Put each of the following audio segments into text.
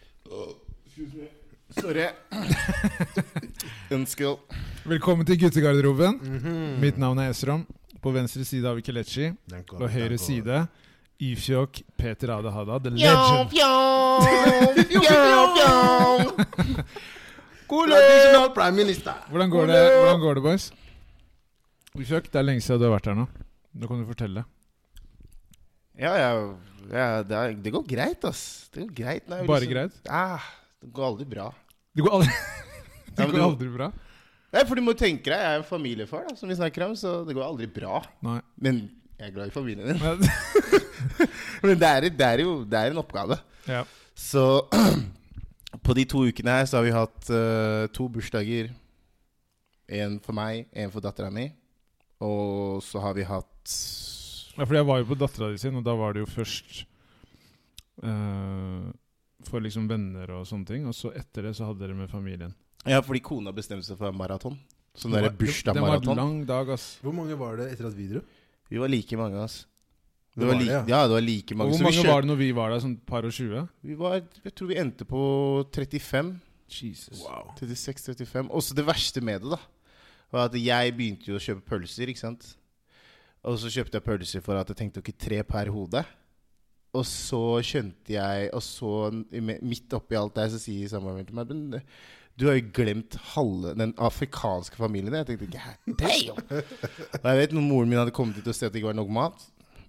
Sorry. Ønsker Velkommen til guttegarderoben. Mm. Mhm. Mitt navn er Esrom. På venstre side har vi Kelechi. På høyre side Ifjok Peter Ade Hada, the legend. Traditional prime minister. Hvordan går det, hvordan går det boys? Ifjok, det er lenge siden du har vært her nå. Nå kan du fortelle. Ja, ja, ja det, er, det går greit, ass. Det går greit. Nei, Bare greit? Ah, det går aldri bra. Det går aldri, Ja, det men går du- aldri bra. Nei, for du må tenke deg, jeg er jo familiefar, da, som vi snakker om, så det går aldri bra. Nei. Men jeg er glad i familien min. Men, Men det er, det er jo det er en oppgave. ja. Så på de to ukene her så har vi hatt eh, to bursdager. En for meg, en for dattera mi. Og så har vi hatt Ja, fordi jeg var jo på dattera di sin, og da var det jo først eh, for liksom venner og sånne ting. Og så etter det så hadde dere med familien. Ja, fordi kona bestemte seg for en maraton. Sånn Det derre var- Det var en bursdagsmaraton. lang dag, ass. Hvor mange var det etter at vi dro? Vi var like mange, ass. Det Det var var like, det, ja, det var like Og mange. hvor Så vi, mange kjøpte- var det når vi var der? Sånn par og tjue? vi var Jeg tror vi endte på 35. Jesus. Wow. 36-35. Også det verste med det, da, var at jeg begynte jo å kjøpe pølser, ikke sant. Og så kjøpte jeg pølser for at jeg tenkte ok, tre per hode. Og så skjønte jeg Og så i me- midt oppi alt der så sier samboeren min til meg Men eh, du har jo glemt halve den afrikanske familien. Jeg tenkte God damn! Og jeg vet når moren min hadde kommet ut og sett at det ikke var nok mat,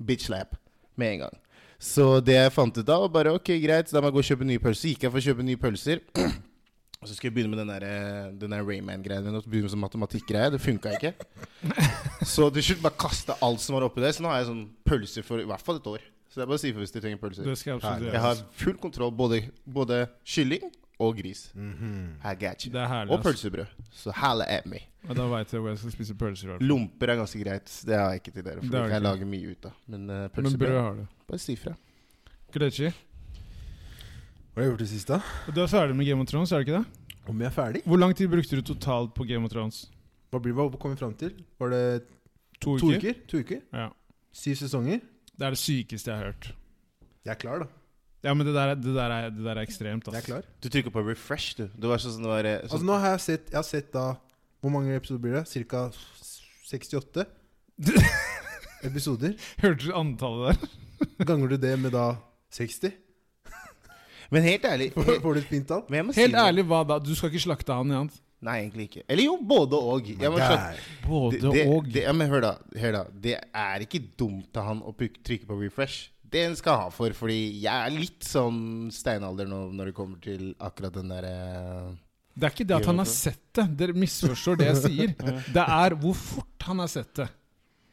bitch slap med en gang. Så det jeg fant ut av, var bare ok, greit, så da må jeg gå og kjøpe nye pølser. Gikk jeg for å kjøpe nye pølser. Og så skulle jeg begynne med den der, eh, den der Rayman-greia. Den begynne med sånn matematikk-greie. Det funka ikke. Så til slutt bare kasta alt som var oppi der. Så nå har jeg sånn pølser for i hvert fall et år. Så det er bare å si ifra hvis de trenger pølser. Det skal jeg absolutt Jeg gjøre. har full kontroll. Både, både kylling og gris. Mhm. I got Det you. er herlig. Og ass. pølsebrød. Så halla at me. Ja, da veit jeg hvor jeg skal spise pølser. i hvert fall. Lomper er ganske greit. Det har jeg ikke til dere. For Det det har kan jeg du lage mye ut av. Men eh, Men brød pølsebrød har du. Bare si ifra. Kelechi, Hva har jeg gjort det siste? da? du er ferdig med Game of Thrones, er du ikke det? Om jeg er ferdig? Hvor lang tid brukte du totalt på Game of Thrones? Hva blir hva kom vi fram til? Var det To to uker? uker? To uker? Ja. Syv sesonger? Det er det sykeste jeg har hørt. Jeg er klar, da. Ja, men det der, er- det der, er, det der er ekstremt, Jeg er ass. klar. Du trykker på refresh, du. Det var sånn som det var eh, sånn, Altså, nå har jeg sett Jeg har sett da Hvor mange episoder blir det? Cirka 68 episoder. Hørte du antallet der? Ganger du det med da 60? Men helt ærlig Får får du et fint tall? men jeg må si Helt noe. ærlig, hva da? Du skal ikke slakte han, Jan? Nei, egentlig ikke. Eller jo, både og. Jeg må skjønne- Der. Både det, det, og. det, ja, men hør da, hør da. Det er ikke dumt av han å puk- trykke på refresh. Det skal jeg ha for, fordi jeg er litt sånn steinalder nå når det kommer til akkurat den eh, derre Det er ikke det at han har sett det. Dere misforstår det jeg sier. Det er hvor fort han har sett det.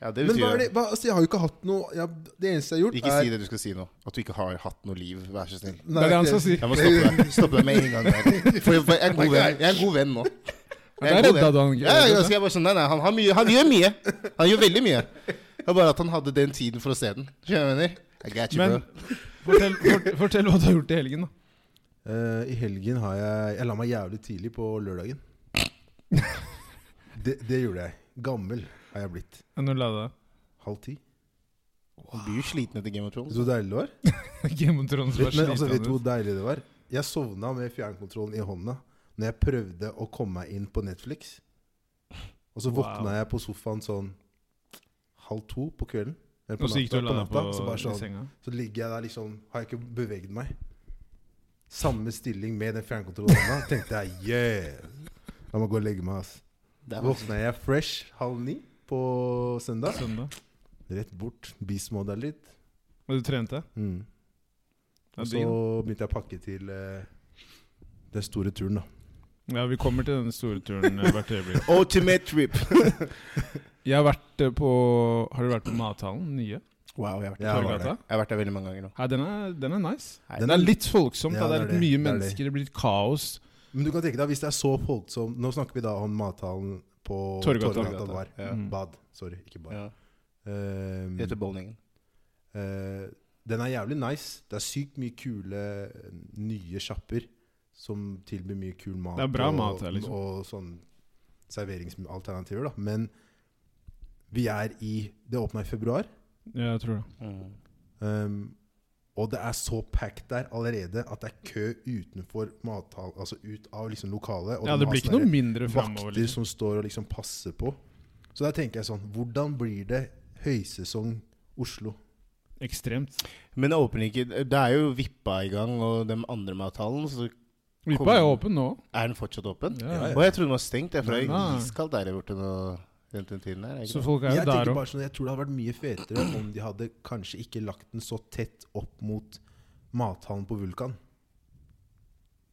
Ja, det Men hva betyr er det hva, Altså, jeg har jo ikke hatt noe jeg, Det eneste jeg har gjort, Ikke er si det du skal si nå. At du ikke har hatt noe liv. Vær så snill. Det er det han skal si. Jeg må stoppe deg Stoppe deg med en gang. der. For jeg, for jeg, er, god venn. jeg er god venn nå. Jeg der god venn. redda du Oh han, ikke? Ja, ja, jeg skal bare sånn, nei, nei, han, har mye, han gjør mye. Han gjør veldig mye. Det er bare at han hadde den tiden for å se den. Skjønner du hva jeg mener? I got you, Men bro. fortell, fort- fortell hva du har gjort i helgen, da. Eh, I helgen har jeg Jeg la meg jævlig tidlig på lørdagen. det, det gjorde jeg. Gammel har jeg blitt. Ja, Når la du deg? Halv ti. Han blir jo sliten etter Game of Vet Thrones. du hvor deilig det var? Game of Thrones var Vet, men altså, vet du slitende. hvor deilig det var? Jeg sovna med fjernkontrollen i hånda når jeg prøvde å komme meg inn på Netflix. Og så Wow. våkna jeg på sofaen sånn halv to på kvelden. Eller på Og så gikk du og natta, la på deg på natta så, bare i sånn, senga. så ligger jeg der liksom Har jeg ikke beveget meg? Samme stilling med den fjernkontrollen i hånda. Tenkte jeg yeah! La meg gå og legge meg, ass. Det er Våkna jeg fresh halv ni på søndag. Søndag. Rett bort. Bismode litt. Og du trente? Mm. Ja, Og så digg, da. begynte jeg å pakke til eh, den store turen, da. ja, vi kommer til denne store turen eh, hvert øyeblikk. Ultimate trip. Jeg har vært eh, på Har du vært på Mathallen? Nye? Wow, jeg har vært Ja, der. var det. Torggata? Jeg har vært der veldig mange ganger nå. Ja, den er, den er nice. Nei, Den Den er er- litt folksomt. Ja, da. Det er det er litt mye det. Det er det. mennesker, det blir litt kaos. Men du kan tenke deg, hvis det er så folksomt Nå snakker vi da om mathallen på Torggata. Torggata bar. Ja. Mm. Bad. Sorry, ikke bar. Ja. Ehm, Det heter bowlingen. eh, den er jævlig nice. Det er sykt mye kule eh, nye sjapper som tilbyr mye kul mat. Det er bra og, mat her, liksom. Og sånn serveringsalternativer, da. Men vi er i Det åpna i februar. Mm. Ja, jeg tror det. Ehm, Og det er så packed der allerede at det er kø utenfor mathall, altså ut av liksom lokalet. Og Ja, det må blir ikke sånne noe mindre fremover. vakter Liksom. som står og liksom passer på. Så der tenker jeg sånn Hvordan blir det høysesong Oslo? Ekstremt. Men åpner ikke Det er jo Vippa i gang, og den andre mathallen. Så Vippa er åpen nå. er den fortsatt åpen? Ja, ja. Og jeg trodde den var stengt. jeg, For det Nei. er iskaldt der borte nå. Den tiden der, er ikke Så det? folk er Jeg jo der tenker òg. bare sånn, jeg tror det hadde vært mye fetere om de hadde kanskje ikke lagt den så tett opp mot mathallen på Vulkan.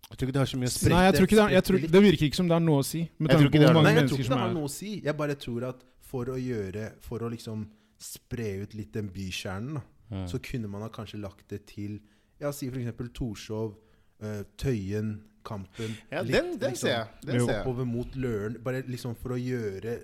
Jeg tror ikke det har så mye å Nei, spre. Nei, jeg tror ikke det, er- jeg tror, spretter litt. det virker ikke som det er noe å si. Med Jeg tror tanke ikke på det er hvor noe. mange Nei, jeg mennesker tror ikke det som har er noe å si. Jeg bare tror at for å gjøre For å liksom spre ut litt den bykjernen, da, så kunne man ha kanskje lagt det til Ja, si for eksempel Torshov, eh, Tøyen, Kampen Ja, litt, liksom den, den ser jeg. Den Jo. ser jeg. Oppover mot Løren. Bare liksom for å gjøre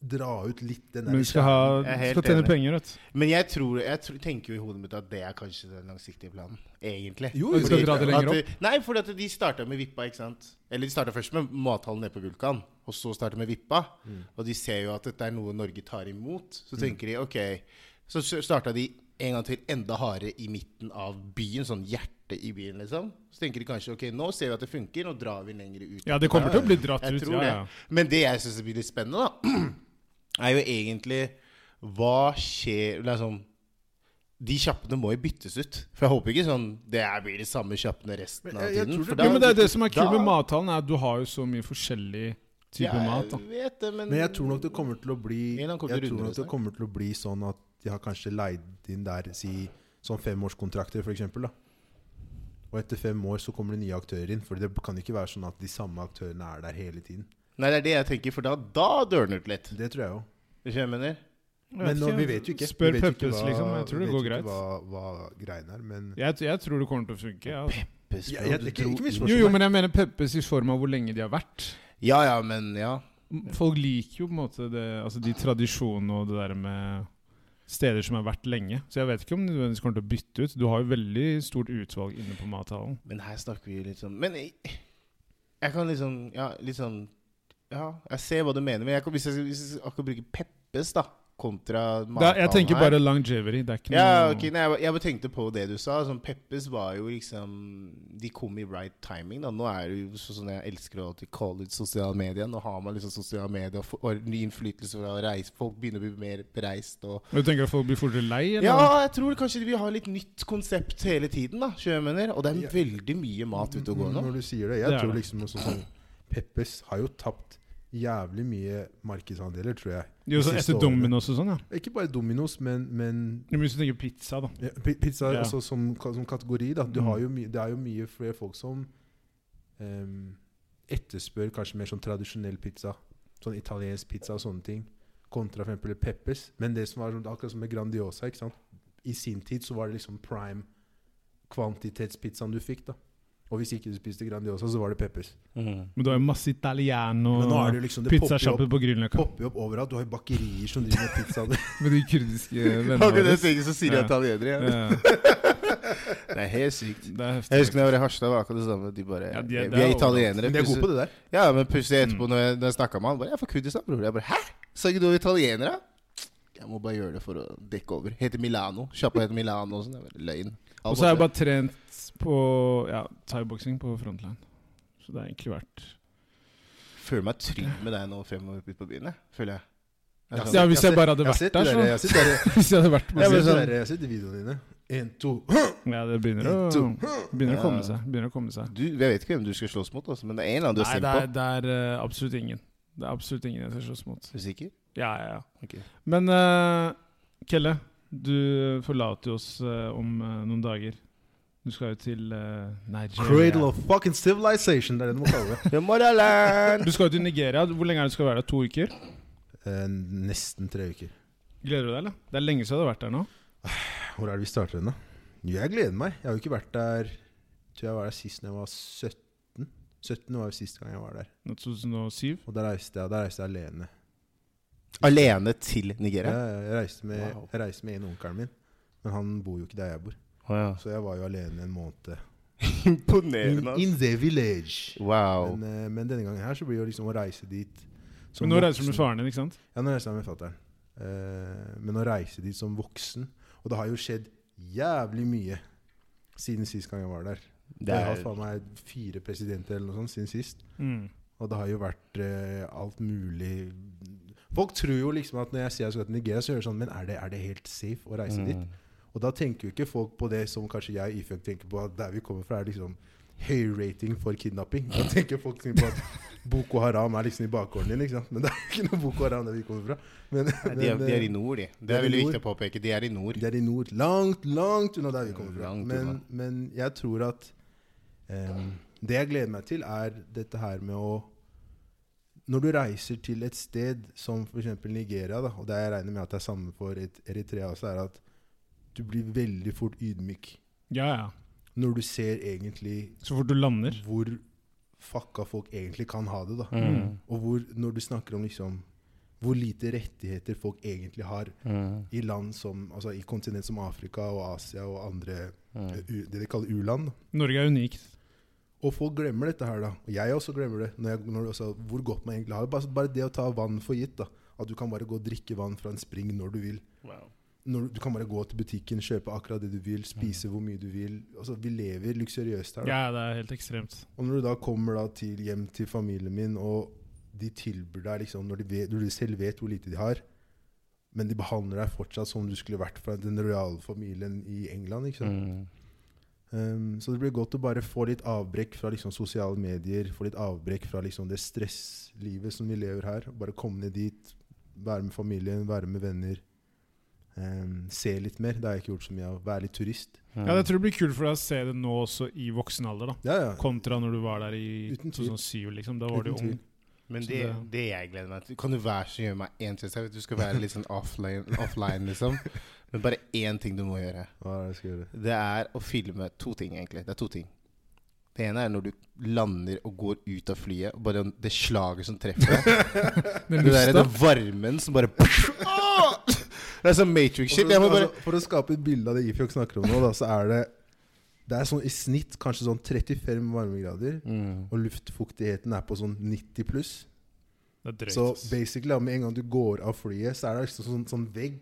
Dra ut litt den der Men vi skal, ha, Jeg er helt skal tjene enig. penger, vet du. Men jeg, tror, jeg tror, tenker jo i hodet mitt at det er kanskje den langsiktige planen. Egentlig. Jo, Vi skal jo, dra det lenger At, nei, fordi at de starta med Vippa. ikke sant? Eller de starta først med mathallen nede på Vulkan, og så starta med Vippa. Mm. Og de ser jo at dette er noe Norge tar imot. Så tenker de OK. Så starta de en gang til enda hardere i midten av byen, sånn hjertet i byen, liksom. Så tenker de kanskje OK, nå ser vi at det funker, nå drar vi lenger ut. Ja, det kommer til å bli dratt Jeg ut. tror Ja, ja. det. Men det jeg syns blir litt spennende, da, er jo egentlig Hva skjer liksom, De kjappene må jo byttes ut. For jeg håper ikke sånn det er- blir de samme kjappene resten Men av jeg- jeg tiden. tror det for blir- Jo, men det er det som er da- kult med mathallen, er at du har jo så mye forskjellig type Ja, jeg mat. da. vet det, men, Men jeg tror nok det kommer til å bli Jeg England kommer til å tror runde nok det det snart. kommer til å bli sånn at de har kanskje leid inn der si, sånn femårskontrakter, for eksempel, da. Og etter fem år så kommer det nye aktører inn. For det kan ikke være sånn at de samme aktørene er der hele tiden. Nei, det er det jeg tenker, for da, da dør den ut litt. Det tror jeg jo. Hvis jeg mener. Men nå, vi vet jo ikke. Spør vi vet jo ikke Peppes, hva- liksom. Jeg tror vi det vet går jo ikke greit. Hva, hva greien er, men Jeg, t- jeg tror det kommer til å funke. Ja. altså. Peppes, Ja, bro, jeg- du ikke- dro ikke misforstå inn- Jo, jo, men jeg mener Peppes i form av hvor lenge de har vært. Ja ja, men ja. Folk liker jo på en måte det, altså de tradisjonene og det der med steder som har vært lenge. Så jeg vet ikke om de nødvendigvis kommer til å bytte ut. Du har jo veldig stort utvalg inne på mathallen. Men her snakker vi jo litt sånn Men jeg, jeg kan liksom Ja, litt sånn Ja, jeg ser hva du mener, men jeg kan, hvis, jeg, hvis jeg akkurat bruker Peppes, da, kontra Det er, jeg mathallen tenker her. bare Mm. longevity. Det er ikke Ja, noe ok, nei, jeg, bare- jeg bare tenkte på det du sa. Sånn, Peppes var jo liksom De kom i right timing. da Nå er det jo så- sånn jeg elsker å alltid kalle ut sosiale medier. Nå har man liksom sosiale medier og, får- og ny innflytelse fra å reise. Folk begynner å bli mer bereist. Og Men Du tenker at folk blir fortere lei? Eller? ja, jeg tror kanskje vi har litt nytt konsept hele tiden, da. skjønner du hva jeg mener. Og det er veldig mye mat ute og går nå. Mm. Når du sier det, Det jeg er tror det. liksom sånn som Peppes har jo tapt jævlig mye markedsandeler, tror jeg. Det er jo de sånn siste etter årene. Domino's og sånn, ja. Ikke bare Dominos, men, men Men Hvis du tenker pizza, da. ja, pi- pizza er Ja. også som, ka- som kategori, da. Du Mm. har jo my, det er jo mye flere folk som ehm, etterspør kanskje mer sånn tradisjonell pizza. Sånn italiensk pizza og sånne ting. Kontra for eksempel Peppers. Men det som var sånn, akkurat som med Grandiosa, ikke sant. I sin tid så var det liksom prime kvantitetspizzaen du fikk, da. Og hvis ikke du spiste Grandiosa, så var det Peppers. Mm. Men du har jo masse italiano Men nå er det og jo liksom Det popper jo pizzasjapper opp, på Grünerløkka. popper jo opp overalt. Du har jo bakerier som driver med pizza. Med de kurdiske Eh, vennene Akkurat det våre. tenker så sier de Ja. italienere. Ja. Ja, Det er helt sykt. det er heftig. Jeg husker da jeg var i Harstad, var akkurat det samme. De bare Ja, de er- Mm. det Vi er er italienere. Men de er plutselig- gode på det der. Ja, men plutselig etterpå når jeg, når jeg snakket med han, bare 'Jeg er fra Kurdistan, bror'. Jeg bare 'Hæ? Sa ikke du er italiener, da?' Jeg må bare gjøre det for å dekke over. Heter Milano. Sjappa heter Milano og sånn. Det er bare Løgn. Og så har jeg bare trent på ja, thaiboksing på frontline. Så det har egentlig vært føler meg trygg med deg nå fremover ute på byen, jeg. Føler jeg. Det er sånn- Ja, Jeg har sett- hvis jeg jeg bare har hadde vært sett- jeg har der, sett det så. Jeg har sett det der. Hvis jeg hadde vært Jeg på men har sett det sånn- der, jeg har sett de videoene dine. En, to Ja, det begynner å, begynner å komme seg. Begynner å komme seg. Du, jeg vet ikke hvem du skal slåss mot, altså, men det er en eller annen du er Nei, sint det er, på. det er eh, absolutt ingen. Det er absolutt ingen jeg skal slåss mot. Er du sikker? Ja, ja, ja. Ok. Men eh, Kelle, du forlater jo oss eh, om eh, noen dager. Du skal jo til eh, Nigeria. Cradle of fucking civilization, det er det du må kalle det. The Motherland! Du skal jo til Nigeria. Hvor lenge er det du skal være der? To uker? Eh, nesten tre uker. Gleder du deg, eller? Det er lenge siden du har vært der nå. Hvor er det vi starter den, da? Jo, Jeg gleder meg. Jeg har jo ikke vært der Tror jeg var der sist når jeg var 17. 17 var jo siste gang jeg var der. 2007. Og da reiste jeg, da reiste jeg alene. Alene til Jeg, Nigeria? jeg, reiste med, Wow. jeg reiste med en onkelen min, men han bor jo ikke der jeg bor. Å, ja. Så jeg var jo alene en måned. In, Imponerende. ass. in the village. Wow. Men, eh, men denne gangen her så blir det jo liksom å reise dit som Men nå reiser du voksen. med faren din, ikke sant? Ja, nå reiser jeg med fatter'n. Eh, men å reise dit som voksen Og det har jo skjedd jævlig mye siden sist gang jeg var der. Det Jeg har er, faen meg fire presidenter eller noe sånt siden sist. Mm. Og det har jo vært eh, alt mulig Folk tror jo liksom at når jeg sier jeg skal til Nigeria, så hører de sånn Men er det, er det helt safe å Mm. reise dit? Og da tenker jo ikke folk på det som kanskje jeg og Ifjok tenker på, at der vi kommer fra, er liksom høy rating for kidnapping. Da tenker folk liksom på at Boko Haram er liksom i bakgården din, ikke sant. Men det er ikke noe Boko Haram der vi kommer fra. Men, Nei, de, er, men, de er eh, i nord, de. Det de er er i veldig nord. viktig å påpeke. De er i nord. det er i nord. Langt, langt unna der vi kommer fra. Langt Men, unna. men jeg tror at em, Det jeg gleder meg til, er dette her med å Når du reiser til et sted som f.eks. Nigeria, da, og det jeg regner med at det er samme for et- Eritrea også, er at du blir veldig fort ydmyk Ja, ja. når du ser egentlig Så fort du lander. hvor fucka folk egentlig kan ha det. da. Mm. Og hvor, når du snakker om liksom hvor lite rettigheter folk egentlig har Mm. i land som, altså i kontinent som Afrika og Asia og andre eh, Mm. u- det de kaller u-land. Norge er unikt. Og folk glemmer dette her, da. Og jeg også glemmer det. Når jeg, når, altså, hvor godt man egentlig har det. Bare, bare det å ta vann for gitt. da. At du kan bare gå og drikke vann fra en spring når du vil. Når, du kan bare gå til butikken, kjøpe akkurat det du vil, spise Mm. hvor mye du vil. Altså, Vi lever luksuriøst her. da. Ja, det er helt ekstremt. Og når du da kommer da til hjem til familien min, og de tilbyr deg liksom, når, de vet, når du selv vet hvor lite de har, men de behandler deg fortsatt som om du skulle vært fra den rojale familien i England. ikke sant? Mm. Um, så det blir godt å bare få litt avbrekk fra liksom, sosiale medier, få litt avbrekk fra liksom, det stresslivet som vi lever her. Bare komme ned dit, være med familien, være med venner. Um, se litt mer. Det har jeg ikke gjort så mye av. Være litt turist. Mm. Ja, jeg tror det blir kult for deg å se det nå også i voksen alder, da. Ja, ja. Kontra når du var der i Uten tvil. 2007, liksom. Da var du Uten tvil. ung. Men Så det, det- det jeg gleder meg til Kan du være så snill gjøre meg én ting? Jeg vet du skal være litt sånn offline, offline liksom. Men bare én ting du må gjøre. Hva er det jeg skal gjøre? Det er å filme to ting, egentlig. Det er to ting. Det ene er når du lander og går ut av flyet, og bare det slaget som treffer deg. Den Det der, lufta. den varmen som bare Åh! Det er sånn Matrix-shit. Og Jeg For, må bare altså, for å skape et bilde av det Ifjok snakker om nå, da, så er det Det er sånn i snitt kanskje sånn 35 varmegrader, Mm. og luftfuktigheten er på sånn 90 pluss. Det er drøyt. Så ass. basically, da, med en gang du går av flyet, så er det liksom sånn, sånn vegg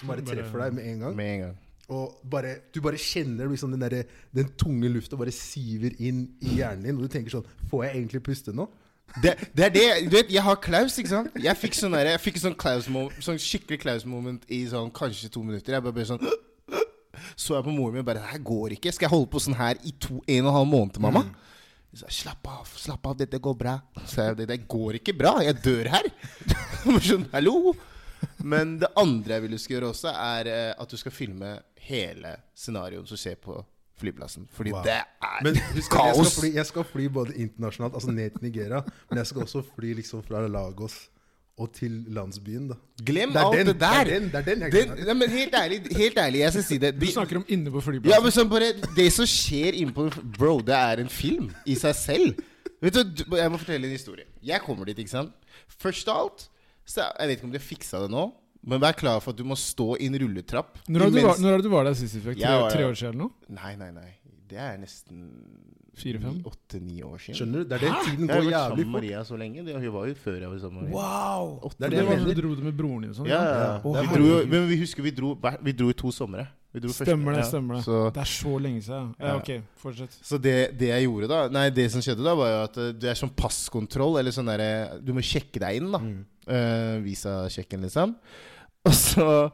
som bare Bare- treffer deg med en gang. Med en gang. Og bare, du bare kjenner liksom den, derre- den tunge lufta bare siver inn i hjernen din, og du tenker sånn Får jeg egentlig puste nå? Det, det er det Du vet, jeg har Klaus, ikke sant? Jeg fikk sånn der, jeg fikk sånn, Klaus mo- sånn skikkelig Klaus-moment i sånn kanskje to minutter. Jeg bare ble sånn Så jeg på moren min og bare Det her går ikke. Skal jeg holde på sånn her i to, en og en halv måned, mamma? Mm. Hun sa, slapp av, slapp av, dette går bra. Så jeg, det, det går ikke bra, jeg dør her. Jeg var sånn, hallo? Men det andre jeg vil du skal gjøre også, er eh, at du skal filme hele scenarioet som skjer på flyplassen. Fordi Wow. det er Men husk at jeg kaos. skal, fly, jeg skal fly både internasjonalt, altså ned til Nigeria, men jeg skal også fly liksom fra Lagos og til landsbyen, da. Glem Det er alt den- det der. det er den- det er den jeg Den- gleder nei, men helt ærlig, helt ærlig, jeg skal si det. Du De, snakker om inne på ja, flyplassen. men sånn bare, det som skjer inne på Bro, det er en film i seg selv. Vet du, du- Jeg må fortelle en historie. Jeg kommer dit, ikke sant. Først av alt så Jeg vet ikke om de har fiksa det nå, men vær klar for at du må stå i en rulletrapp. Når var du imens- var, når er det du var der sist? Tre, Jeg var der. tre år siden eller noe? Nei, nei, nei. Det er nesten Fire-fem? åtte-ni år siden. Skjønner du? Det er det tiden Jeg har går vært sammen med jævlig fort. Maria så lenge. Det- Hun var jo før jeg var sammen med Maria. Wow! Det Det er var det jeg da mener. du dro det med broren din og sånn? Ja, ja, ja. Å, Det- Vi dro, jo- men vi husker vi dro, hver- vi dro i to somre. Vi dro første- Stemmer det, ja. stemmer det. Så Det er så lenge siden. Ja, Ja. ok, fortsett. Så det, det jeg gjorde da Nei, det som skjedde da, var jo at eh, det er sånn passkontroll, eller sånn derre Du må sjekke deg inn, da. Eh, Visa-sjekken, liksom. Og så,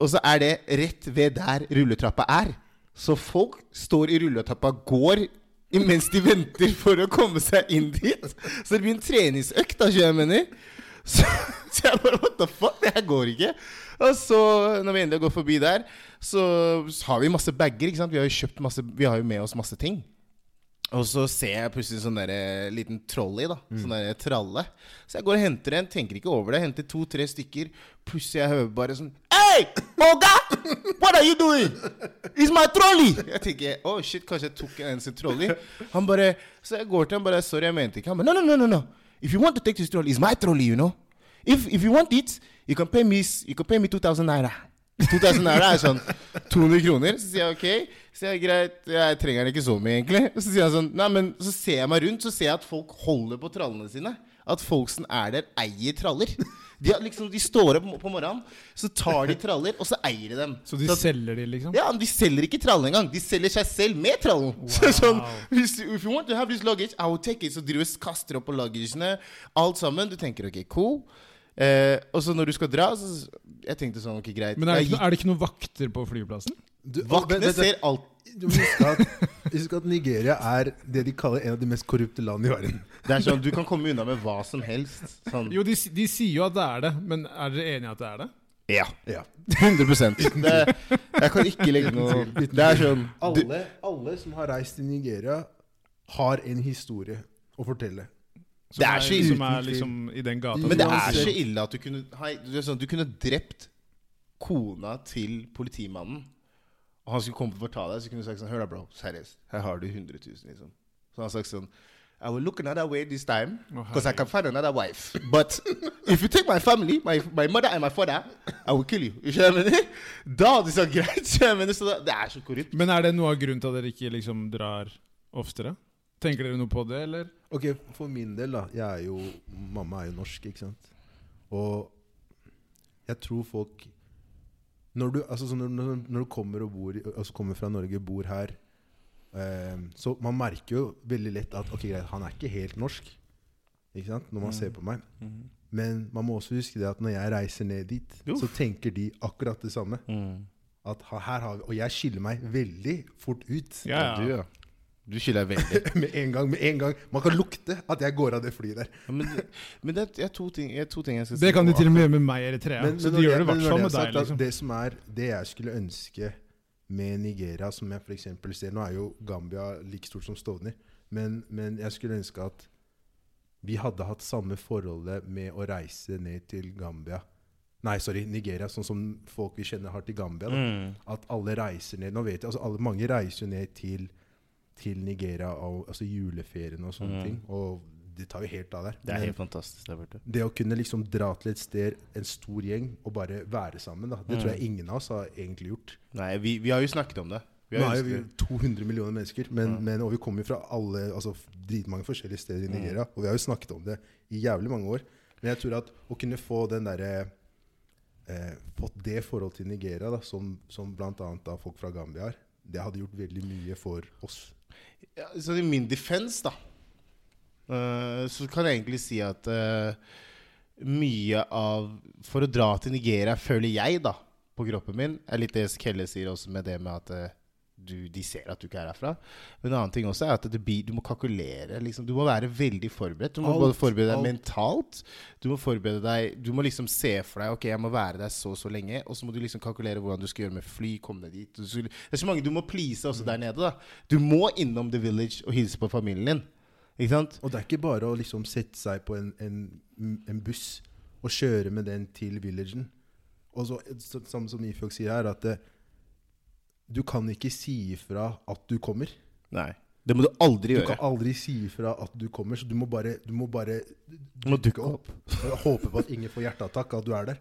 og så er det rett ved der rulletrappa er. Så folk står i rulletrappa, går mens de venter for å komme seg inn dit. Så det blir en treningsøkt, da, skjønner jeg mener. Så, så jeg bare What the fuck? Det her går ikke. Og så, når vi endelig går forbi der, så har vi masse bager. ikke sant? Vi har jo kjøpt masse Vi har jo med oss masse ting. Og så ser jeg plutselig sånn derre liten trolley, da. Sånn derre tralle. Så jeg går og henter en, tenker ikke over det. Henter to-tre stykker. Plutselig jeg hører bare sånn Hey, Moga! What are you doing? It's my trolley! Jeg tenker oh shit, kanskje jeg tok en sin trolley. Han bare Så jeg går til ham bare Sorry, jeg mente ikke. Han bare no, no, no, no, no. If you want to take this trolley, it's my trolley, you know. If, if you want it, you can pay me, s- you can pay me 2000 naira. 2000 naira er sånn 200 kroner. Så sier jeg ok. Så sier jeg greit, jeg trenger den ikke så mye, egentlig. Så sier jeg sånn, nei, men så ser jeg meg rundt, så ser jeg at folk holder på trallene sine. At folksen er der, eier traller. De, har liksom, de står opp på morgenen, så tar de traller, og så eier de dem. Så de Sånn- selger de, liksom? Ja, men De selger ikke trallen engang. De selger seg selv med trallen. Så sånn, hvis du, if you want to have this luggage, I will take it. Så driver du og kaster opp på luggagene, alt sammen. Du tenker ok, cool. Eh, og så når du skal dra, så Jeg tenkte sånn, ok, greit. Men er det, Jeg ikke, no- er det ikke noen vakter på flyplassen? Du- gikk- Vaktene vent, vent, ser alt. Du må huske at, huske at Nigeria er det de kaller en av de mest korrupte land i verden. Det er sånn, Du kan komme unna med hva som helst. Sånn. Jo, de, s- de sier jo at det er det, men er dere enige i at det er det? Ja. Ja. 100 det, Jeg kan ikke legge noe Det er sånn du, Alle, alle som har reist til Nigeria, har en historie å fortelle. Som Det er så som uten er liksom i den gata. Men det er Uansett. så ille at du kunne hei, du, er sånn, du kunne drept kona til politimannen. Og han skulle komme og fortale deg, så kunne du sagt sånn Hør da, bro. Seriøst. Her har du 100 000, liksom. Så han har sagt sånn I will look another way this time, Å, because I can find another wife. But if you take my family, my, my mother and my father, I will kill you. Ikke sant, jeg mener? Da hadde de sagt greit. ikke sant, jeg mener? Så da, det er så korrupt. Men er det noe av grunnen til at dere ikke liksom drar oftere? Tenker dere noe på det, eller? Ok, For min del, da. Jeg er jo, mamma er jo norsk, ikke sant. Og jeg tror folk Når du, altså, sånn, når, når- når du kommer, og bor, i- altså, kommer fra Norge, bor her eh, Så man merker jo veldig lett at ok, greit, han er ikke helt norsk. Ikke sant? Når man ser på meg. Mm, Men man må også huske det at når jeg reiser ned dit, så tenker de akkurat det samme. Mm. At ha- her har vi, Og jeg skiller meg veldig fort ut. Du, ja. Du skylder veldig. Med en gang, med en gang. Man kan lukte at jeg går av det flyet der. Ja, Men, men det er to ting, jeg, to ting jeg skal Det kan de på. til og med gjøre med meg i Eritrea. Men- så men de når gjør det i men hvert når fall er med deg. sagt, at liksom. Det som er det jeg skulle ønske med Nigeria, som jeg for eksempel ser Nå er jo Gambia like stort som Stovner, men, men jeg skulle ønske at vi hadde hatt samme forholdet med å reise ned til Gambia Nei, sorry, Nigeria, sånn som folk vi kjenner har til Gambia. Mm. Da. Mm. At alle reiser ned Nå vet jeg, altså alle, Mange reiser jo ned til, til Nigeria, og, altså juleferien og Mm. sånne ting. Og det tar jo helt av der. Det er Men- helt fantastisk der borte. det å kunne liksom dra til et sted, en stor gjeng, og bare være sammen, da, Mm. det tror jeg ingen av oss har egentlig gjort. Nei, vi, vi har jo snakket om det. Vi Nå har er jo jo vi 200 millioner mennesker, men, men, og vi kommer jo fra alle, altså, f- dritmange forskjellige steder i Mm. Nigeria. Og vi har jo snakket om det i jævlig mange år. Men jeg tror at å kunne få den derre eh, Fått det forholdet til Nigeria da, som, som bl.a. folk fra Gambia har, det hadde gjort veldig mye for oss. ja, Så i min defense, da, eh, så kan jeg egentlig si at eh, mye av For å dra til Nigeria, føler jeg, da, på kroppen min, er litt det Kelle sier også med det med at eh, du, de ser at du ikke er herfra. Men en annen ting også er at det blir, du må kalkulere. Liksom. Du må være veldig forberedt. Du må Alt, både forberede deg alt. mentalt. Du må forberede deg Du må liksom se for deg Ok, jeg må være der så og så lenge. Og så må du liksom kalkulere hvordan du skal gjøre med fly, komme deg dit. Du skal, det er så mange du må please Mm. også der nede. da Du må innom The Village og hilse på familien din. Ikke sant? Og det er ikke bare å liksom sette seg på en, en, en buss og kjøre med den til villagen. Og så, så, samme som Ifjok sier her, at eh, du kan ikke si ifra at du kommer. Nei. Det må du aldri Du gjøre. kan aldri si ifra at du kommer, så du må bare, du må bare Du må dukke opp. Jeg håper på at ingen får hjerteattakk at du er der.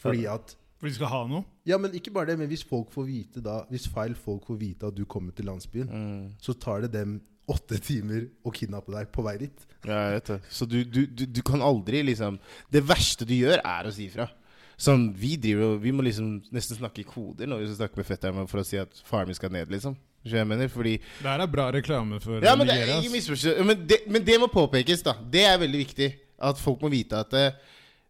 Fordi at For de skal ha noe? Ja, men ikke bare det, men hvis folk får vite da Hvis feil folk får vite at du kommer til landsbyen, Mm. så tar det dem åtte timer å kidnappe deg på vei dit. Ja, jeg vet det. Så du, du, du, du kan aldri liksom Det verste du gjør, er å si ifra. Sånn, vi driver og Vi må liksom nesten snakke i koder når vi skal snakke med fetteren vår for å si at faren min skal ned, liksom. Skjønner du hva Jeg mener, fordi Det her er bra reklame for Ja, men det, Nigeria. ikke ass. misforstå. Ja, Men, det, men det må påpekes, da. Det er veldig viktig. At folk må vite at eh,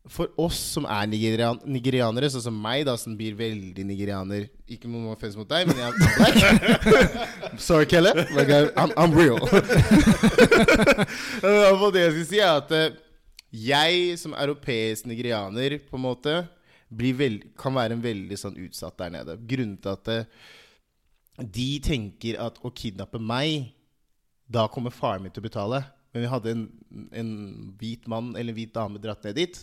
for oss som er nigerian, nigerianere, sånn som meg, da, som blir veldig nigerianer Ikke noe offense mot deg, men jeg er black. Sorry, Kelle. Like, I- I'm, I'm real. Eh, og det jeg skal si, er at eh, jeg som europeisk nigerianer, på en måte, blir veld, kan være en veldig sånn utsatt der nede. Grunnen til at eh, de tenker at å kidnappe meg da kommer faren min til å betale. Men vi hadde en, en hvit mann eller en hvit dame dratt ned dit,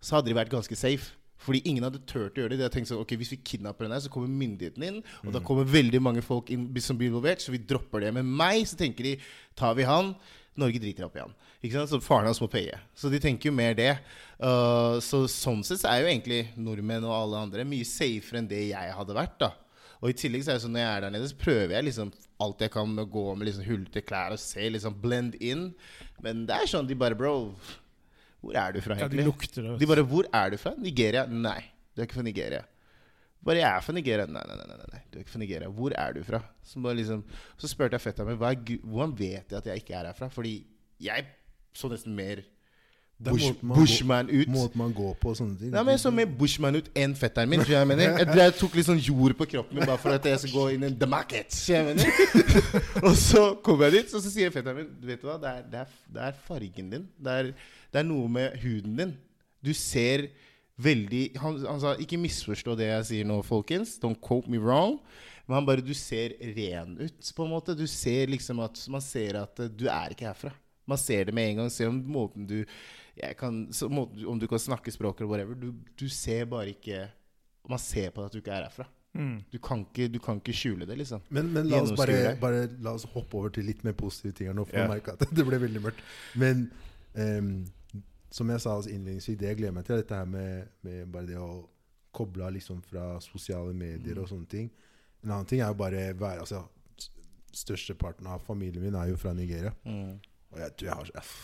så hadde de vært ganske safe. Fordi ingen hadde turt å gjøre det. De hadde tenkt sånn, ok, Hvis vi kidnapper den her, så kommer myndighetene inn. Og da kommer veldig mange folk inn som blir involvert, så vi dropper det. Men meg, så tenker de tar vi han, Norge driter opp i han. Ikke sant? Så faren hans må paye. Så de tenker jo mer det. Uh, så sånn sett så er jo egentlig nordmenn og alle andre mye safere enn det jeg hadde vært. da og i tillegg så er det sånn når jeg er der nede, så prøver jeg liksom alt jeg kan med å gå med liksom hullete klær og se liksom blend in. Men det er sånn de bare Bro, Hvor er du fra, Ja, de egentlig? lukter det. De bare 'Hvor er du fra?' Nigeria? Nei, du er ikke fra Nigeria. Bare 'Jeg er fra Nigeria'. Nei, nei, nei, nei, nei. du er ikke fra Nigeria. Hvor er du fra? Så, bare liksom, så spurte jeg fetteren min hva er gu- hvordan vet jeg at jeg ikke er herfra. Fordi jeg så nesten mer Det er bush, måten man går- bushman ut. Måten man går på og sånne ting. Nei, men Jeg så mer bushman ut enn fetteren min. tror Jeg jeg mener Jeg, jeg tok litt sånn jord på kroppen min bare for at jeg skal gå inn i the market. tror Jeg mener. Og så kommer jeg dit, og så sier fetteren min Vet du hva, det er, det er, det er fargen din. Det er, det er noe med huden din. Du ser veldig han, han sa ikke misforstå det jeg sier nå, folkens. Don't quote me wrong. Men han bare Du ser ren ut, på en måte. Du ser liksom at Man ser at eh, du er ikke herfra. Man ser det med en gang. Se om måten du jeg kan, så måten, du- Om du kan snakke språket eller whatever. Du, du ser bare ikke Man ser på deg at du ikke er herfra. Mm. Du kan ikke, du kan ikke skjule det, liksom. Men, men la, oss bare, Gjennomskue deg. bare, la oss hoppe over til litt mer positive ting her nå, for Ja. jeg merker at det ble veldig mørkt. Men ehm, som jeg sa altså innledningsvis, det jeg gleder meg til, er dette her med, med bare det å koble av liksom fra sosiale medier og Mm. sånne ting. En annen ting er jo bare være altså, s- Størsteparten av familien min er jo fra Nigeria. Mm. Og jeg tror jeg har f-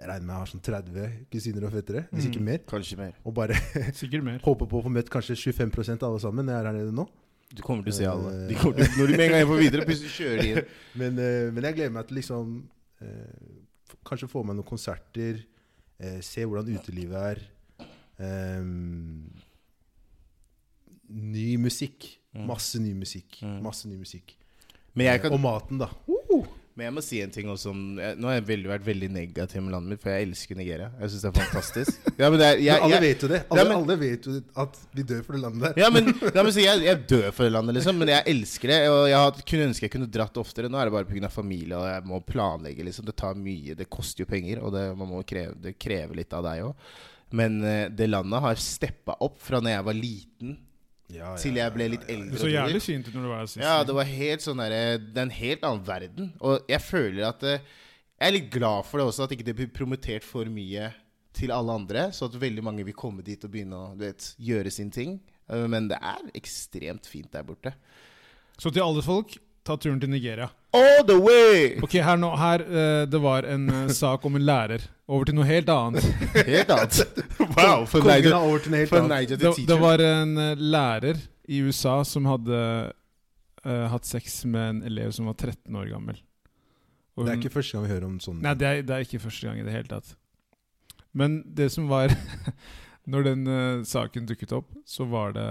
Jeg regner med jeg har sånn 30 kusiner og fettere, hvis Mm. ikke mer. Kanskje mer. Og bare Sikkert mer. håper på å få møtt kanskje 25 av alle sammen når jeg er her nede nå. Du kommer til å se alle. Eh, De kommer til, når du med en gang er på videre, plutselig kjører de inn. Men, eh, men jeg gleder meg til liksom eh, f- Kanskje få meg noen konserter. Eh, se hvordan utelivet er. Ehm, ny musikk. Masse ny musikk. Masse ny musikk. Mm. Men jeg, kan, Og maten, da. men jeg må si en ting også. om- jeg- Nå har jeg veldig, vært veldig negativ med landet mitt, for jeg elsker Nigeria. Jeg syns det er fantastisk. Ja, men det er, jeg, Men alle jeg, vet jo det. Alle, Ja, men- alle vet jo at vi dør for det landet der. ja, men, ja, men så jeg, jeg dør for det landet, liksom. Men jeg elsker det. Og jeg har- kunne ønske jeg kunne dratt oftere. Nå er det bare pga. familie, og jeg må planlegge. liksom Det tar mye. Det koster jo penger, og det, man må kreve, det krever litt av deg òg. Men eh, det landet har steppa opp fra når jeg var liten, Ja, ja, til jeg ble ja, litt ja, ja. eldre. Du så og dritt. jævlig fint ut når du var her sist. Ja, det var helt sånn der, det er en helt annen verden. Og jeg føler at eh, Jeg er litt glad for det også, at ikke det blir promotert for mye til alle andre. Så at veldig mange vil komme dit og begynne å du vet, gjøre sin ting. Eh, Men det er ekstremt fint der borte. Så til alle folk, ta turen til Nigeria. All the way! Ok, her nå, her, eh, Det var en eh, sak om en lærer. Over til noe helt annet. Helt annet. Wow, for Kongen Niger, har over til en helt for annen. Niger Det, the det teacher. var en eh, lærer i USA som hadde eh, hatt sex med en elev som var 13 år gammel. Og Det er hun- ikke første gang vi hører om sånn. sånne Nei, det er, det er ikke første gang i det hele tatt. Men det som var Når den eh, saken dukket opp, så var det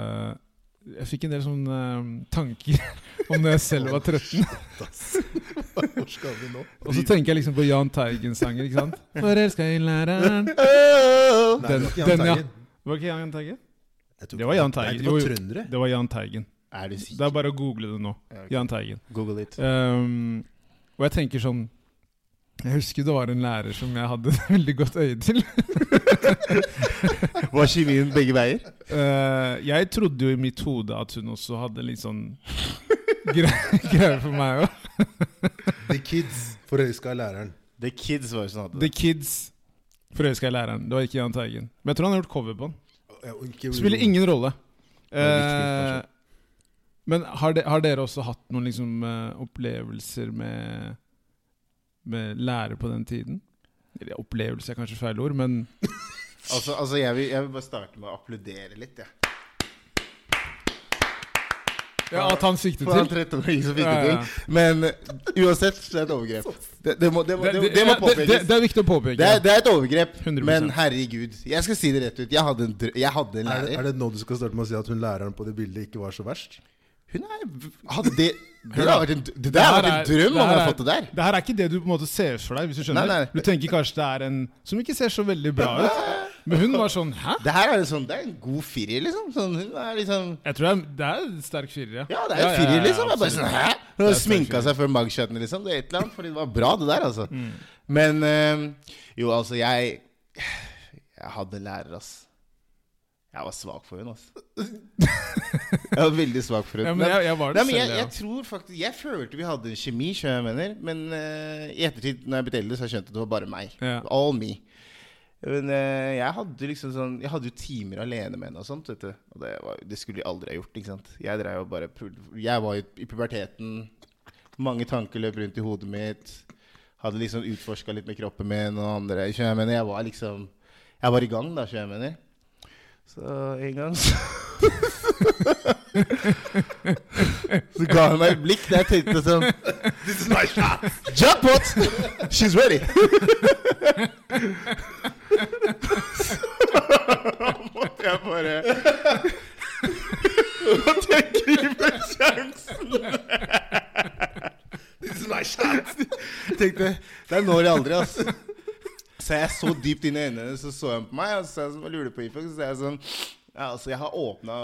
Jeg fikk en del sånne eh, tanker om da jeg selv var 13. Hvor skal vi nå? Og så tenker jeg liksom på Jahn Teigen-sanger, ikke sant? Forelska i læreren Det Oh! Nei, det var ikke Den- den, Jahn ja. Teigen. Var ikke Jahn Teigen? Jeg tror Det var ikke- Jahn Nei, Teigen. Det var Jo, jo. trøndere. Det var Jahn Teigen. Er du Det er sikker? bare å google det nå. Ja, ok. Jahn Teigen. Google it. Ehm, og jeg tenker sånn Jeg husker det var en lærer som jeg hadde veldig godt øye til. Var kjemien begge veier? Eh, jeg trodde jo i mitt hode at hun også hadde litt sånn gre- greier for meg òg. The Kids forelska i læreren. The Kids var jo sånn hadde The Kids. Forelska i læreren. Det var ikke Jahn Teigen. Men jeg tror han har gjort cover på den. Ja, og ikke- Spiller ingen rolle. Det er viktig, Eh, men har, de, har dere også hatt noen liksom, eh, opplevelser med, med lærer på den tiden? Eller opplevelse er kanskje feil ord, men Altså, altså jeg, vil, jeg vil bare starte med å applaudere litt, jeg. ja, at han fikk det For til. han 13-åringen som fikk Ja, det ja, til. Men eh, uansett, så er det et overgrep. Det, det, må, det, må, det, det må det, det, påpekes. det er viktig å påpeke. Det er, det er et overgrep, 100%. men herregud. Jeg skal si det rett ut. Jeg hadde en, drø jeg hadde en Er det, er lærer. det nå du skal starte med å si at hun læreren på det bildet ikke var så verst? Hun er hadde det, det, da. har vært en, det der har vært en drøm om her jeg er- har fått det der. Det her er ikke det du på en måte ser for deg. hvis Du skjønner Nei, nei. Du tenker kanskje det er en som ikke ser så veldig bra ut. Men hun var sånn Hæ? Det her er en sånn, det er en god firer, liksom. Sånn, hun er liksom Jeg tror det er, det er en sterk firer, ja. Ja, det er en firer, liksom. Jeg er bare sånn, absolutt. hæ? Hun har Det er sminka sterk seg før magshotene, liksom. Det er et eller annet, fordi det var bra, det der, altså. Mm. Men eh, jo, altså, jeg Jeg hadde en lærer, ass. Jeg var svak for hun, ass. Jeg var veldig svak for hun. ja, men jeg, jeg var det Nei, men jeg, selv, ja. jeg tror faktisk Jeg følte vi hadde en kjemi, skjønner jeg mener. Men eh, i ettertid, når jeg ble eldre, så har jeg skjønt at det var bare meg. Ja. All me. Men eh, jeg hadde liksom sånn Jeg hadde jo timer alene med henne og sånt, vet du. Og det, var, det skulle jeg aldri ha gjort, ikke sant. Jeg drev jo bare pul- Jeg var jo i puberteten. Mange tanker løp rundt i hodet mitt. Hadde liksom utforska litt med kroppen min og andre. skjønner jeg mener. Jeg var liksom Jeg var i gang, da, så jeg mener. Så en gang så Så ga hun meg et blikk der jeg tenkte sånn This is my shot! Jackpot! She's ready! Så måtte jeg bare Måtte jeg gripe sjansen! This is my shot! tenkte Det er nå eller aldri, altså. Så jeg så dypt inn i øynene hennes, så så hun på meg, og så sa jeg sånn, «Hva lurer du på Ifølge, så sa jeg sånn Ja, altså, jeg har åpna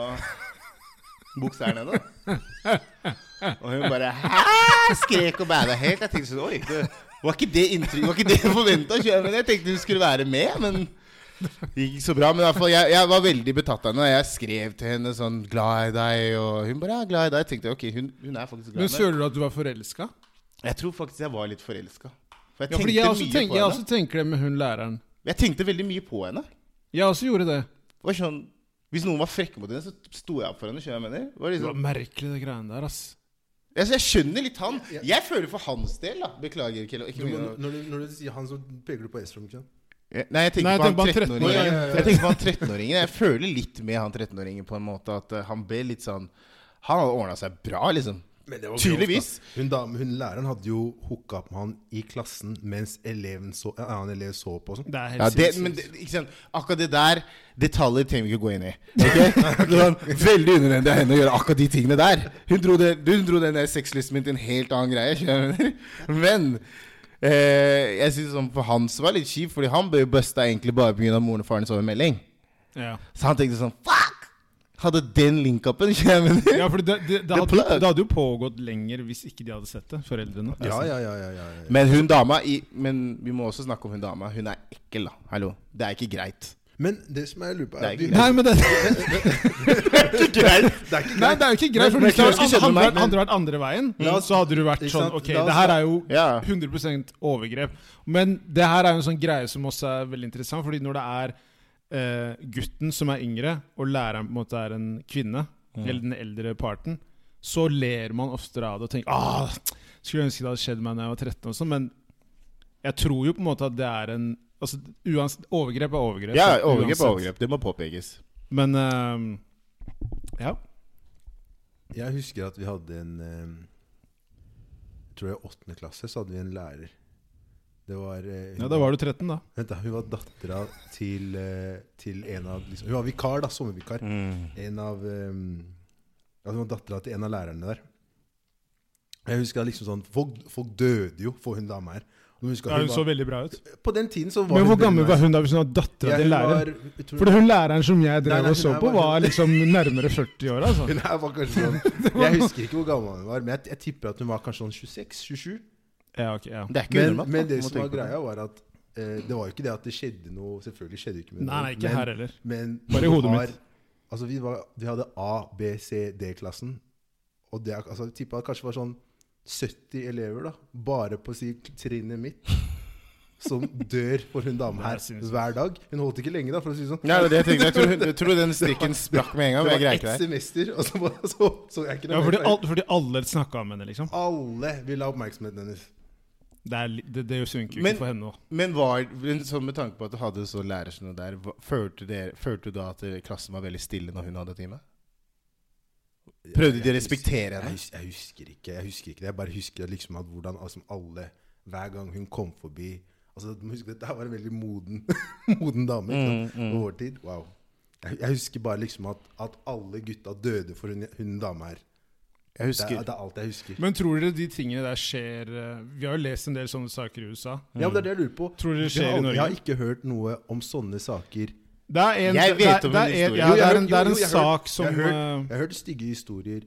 buksa her nede. Og hun bare Hæ? skrek og bæla helt. Jeg tenkte sånn Oi, det var ikke det inntrykk, var ikke det forventa? Men jeg tenkte hun skulle være med, men det gikk ikke så bra. Men i hvert fall, jeg, jeg var veldig betatt av henne, og jeg skrev til henne sånn 'Glad i deg', og hun bare 'Ja, glad i deg'. Jeg tenkte ok, hun, hun er faktisk glad i Men meg. føler du at du var forelska? Jeg tror faktisk jeg var litt forelska. For jeg Ja, tenkte fordi jeg også, mye tenker, på jeg henne. også tenker det med hun læreren. Jeg tenkte veldig mye på henne. Jeg også gjorde det. Det var sånn Hvis noen var frekke mot henne, så sto jeg opp for henne. Skjønner du hva jeg mener? Det Var Det var liksom, merkelig, det greiene der, ass. jeg, jeg skjønner litt han. Jeg føler for hans del, da. Beklager, Kjell. Ikke Du må, mine- når, du, når du sier han, så peker du på Estrom, ikke sant? Jeg- Nei, jeg tenker Nei, på han jeg tenker på han 13-åringen. 13-åringen. Jeg tenker på han 13-åringen. Jeg føler litt med han 13-åringen på en måte at eh, han ble litt sånn Han hadde ordna seg bra, liksom. Men det var Tydeligvis. grovt, da. Hun, dame, hun læreren hadde jo hooka opp med han i klassen mens eleven så, en annen elev så på. og Sånn. Det er helt Ja, det, sinnssykt. men det, ikke sant? Akkurat det der Detaljer trenger vi ikke gå inn i. ok? Det var veldig unødvendig av henne å gjøre akkurat de tingene der. Hun dro, det, hun dro den der sexlysten min til en helt annen greie. skjønner du? Men eh, jeg synes sånn for hans var litt kjipt, Fordi han ble jo busta egentlig bare pga. moren og farens overmelding. ja. Så han tenkte sånn Fuck! Hadde den link-upen. skjønner du? Ja, for det, det, det, hadde, plug. det hadde jo pågått lenger hvis ikke de hadde sett det, foreldrene. Ja, ja, ja, ja, ja, ja. Men hun dama i, Men vi må også snakke om hun dama. Hun er ekkel, da. Hallo. Det er ikke greit. Men det som jeg lurer på, er at Det er vi- ikke- Nei, men det, Det er ikke greit. det er ikke nei, det er jo ikke greit. For Men- hvis det men- hadde, men- hadde, vært- men- hadde vært andre veien, La oss- så hadde du vært ikke sånn sant? Ok, La oss- det her er jo Ja. 100 overgrep. Men det her er jo en sånn greie som også er veldig interessant, fordi når det er eh, gutten som er yngre, og læreren på en måte er en kvinne, eller den eldre parten, så ler man oftere av det og tenker ah, Skulle ønske det hadde skjedd meg da jeg var 13, og sånn, men jeg tror jo på en måte at det er en Altså, uansett, Overgrep er overgrep. Ja, overgrep uansett. er overgrep. Det må påpekes. Men ehm, ja. Jeg husker at vi hadde en eh, Jeg tror jeg i åttende klasse så hadde vi en lærer. Det var eh, hun- ja, da var du 13, da. Vent da, Hun var dattera til, eh, til en av liksom, Hun var vikar, da. Sommervikar. Mm. En av eh, ja, Hun var dattera til en av lærerne der. Jeg husker at liksom sånn Folk, folk døde jo for hun dama her. Og hun husker at Ja, hun så var, veldig bra ut. på den tiden så var Men hvor veldig gammel var nice. hun da hvis hun var dattera Ja, til hun læreren? var- jeg tror- For hun læreren som jeg Nei, drev nei, og så hun er på, bare- var liksom nærmere 40 år, altså. Hun her var kanskje sånn Jeg husker ikke hvor gammel hun var, men jeg, jeg tipper at hun var kanskje sånn 26-27. Ja, ok, ja. Det er ikke Men, unormalt. men da, det må som var tenke på det. greia, var at eh, det var jo ikke det at det skjedde noe Selvfølgelig skjedde det ikke Nei, nei, ikke men, her heller. Men Bare i vi hodet var- mitt. Altså, vi, var, vi hadde A, B, C, D-klassen. Og det, er- altså, jeg tippa det kanskje var sånn 70 elever, da. Bare på si, trinnet mitt. Som dør for hun dame Det her er sinnssykt. hver dag. Hun holdt ikke lenge, da, for å si det sånn. Nei, det var det jeg tenkte. Jeg tror, jeg tror den strikken sprakk med en gang. Men jeg det var greier ett ikke det. semester, og så, bare- så, så jeg ikke Ja, noe fordi, mer. al fordi alle snakka om henne, liksom. Alle ville ha oppmerksomheten hennes. Det, er, li- det, det funker jo Men- ikke for henne òg. Men var, men så med tanke på at du hadde så lærer som det der, hva- følte, dere, følte du da at eh, klassen var veldig stille når hun hadde time? Prøvde de å Jeg respektere Jeg, henne? hus- jeg husker ikke. Jeg husker ikke det. Jeg bare husker liksom at hvordan altså, alle Hver gang hun kom forbi Altså, du må huske at Dette var en veldig moden, moden dame ikke sant? Mm, på vår tid. Wow. Jeg, jeg husker bare liksom at, at alle gutta døde for hun, hun dama her. Jeg Det er, husker. det er alt jeg husker. Men tror dere de tingene der skjer eh, Vi har jo lest en del sånne saker i USA. Ja, men Det er det jeg lurer på. Tror du det Jeg skjer har i aldri- Norge? Jeg har ikke hørt noe om sånne saker. Det er en, Jeg vet det er, om det en er, en- historie. ja, Jo, det jeg er har en, hørt- det er jo, en jeg har hørt- sak som Jeg har hørt, eh, jeg har hørt stygge historier,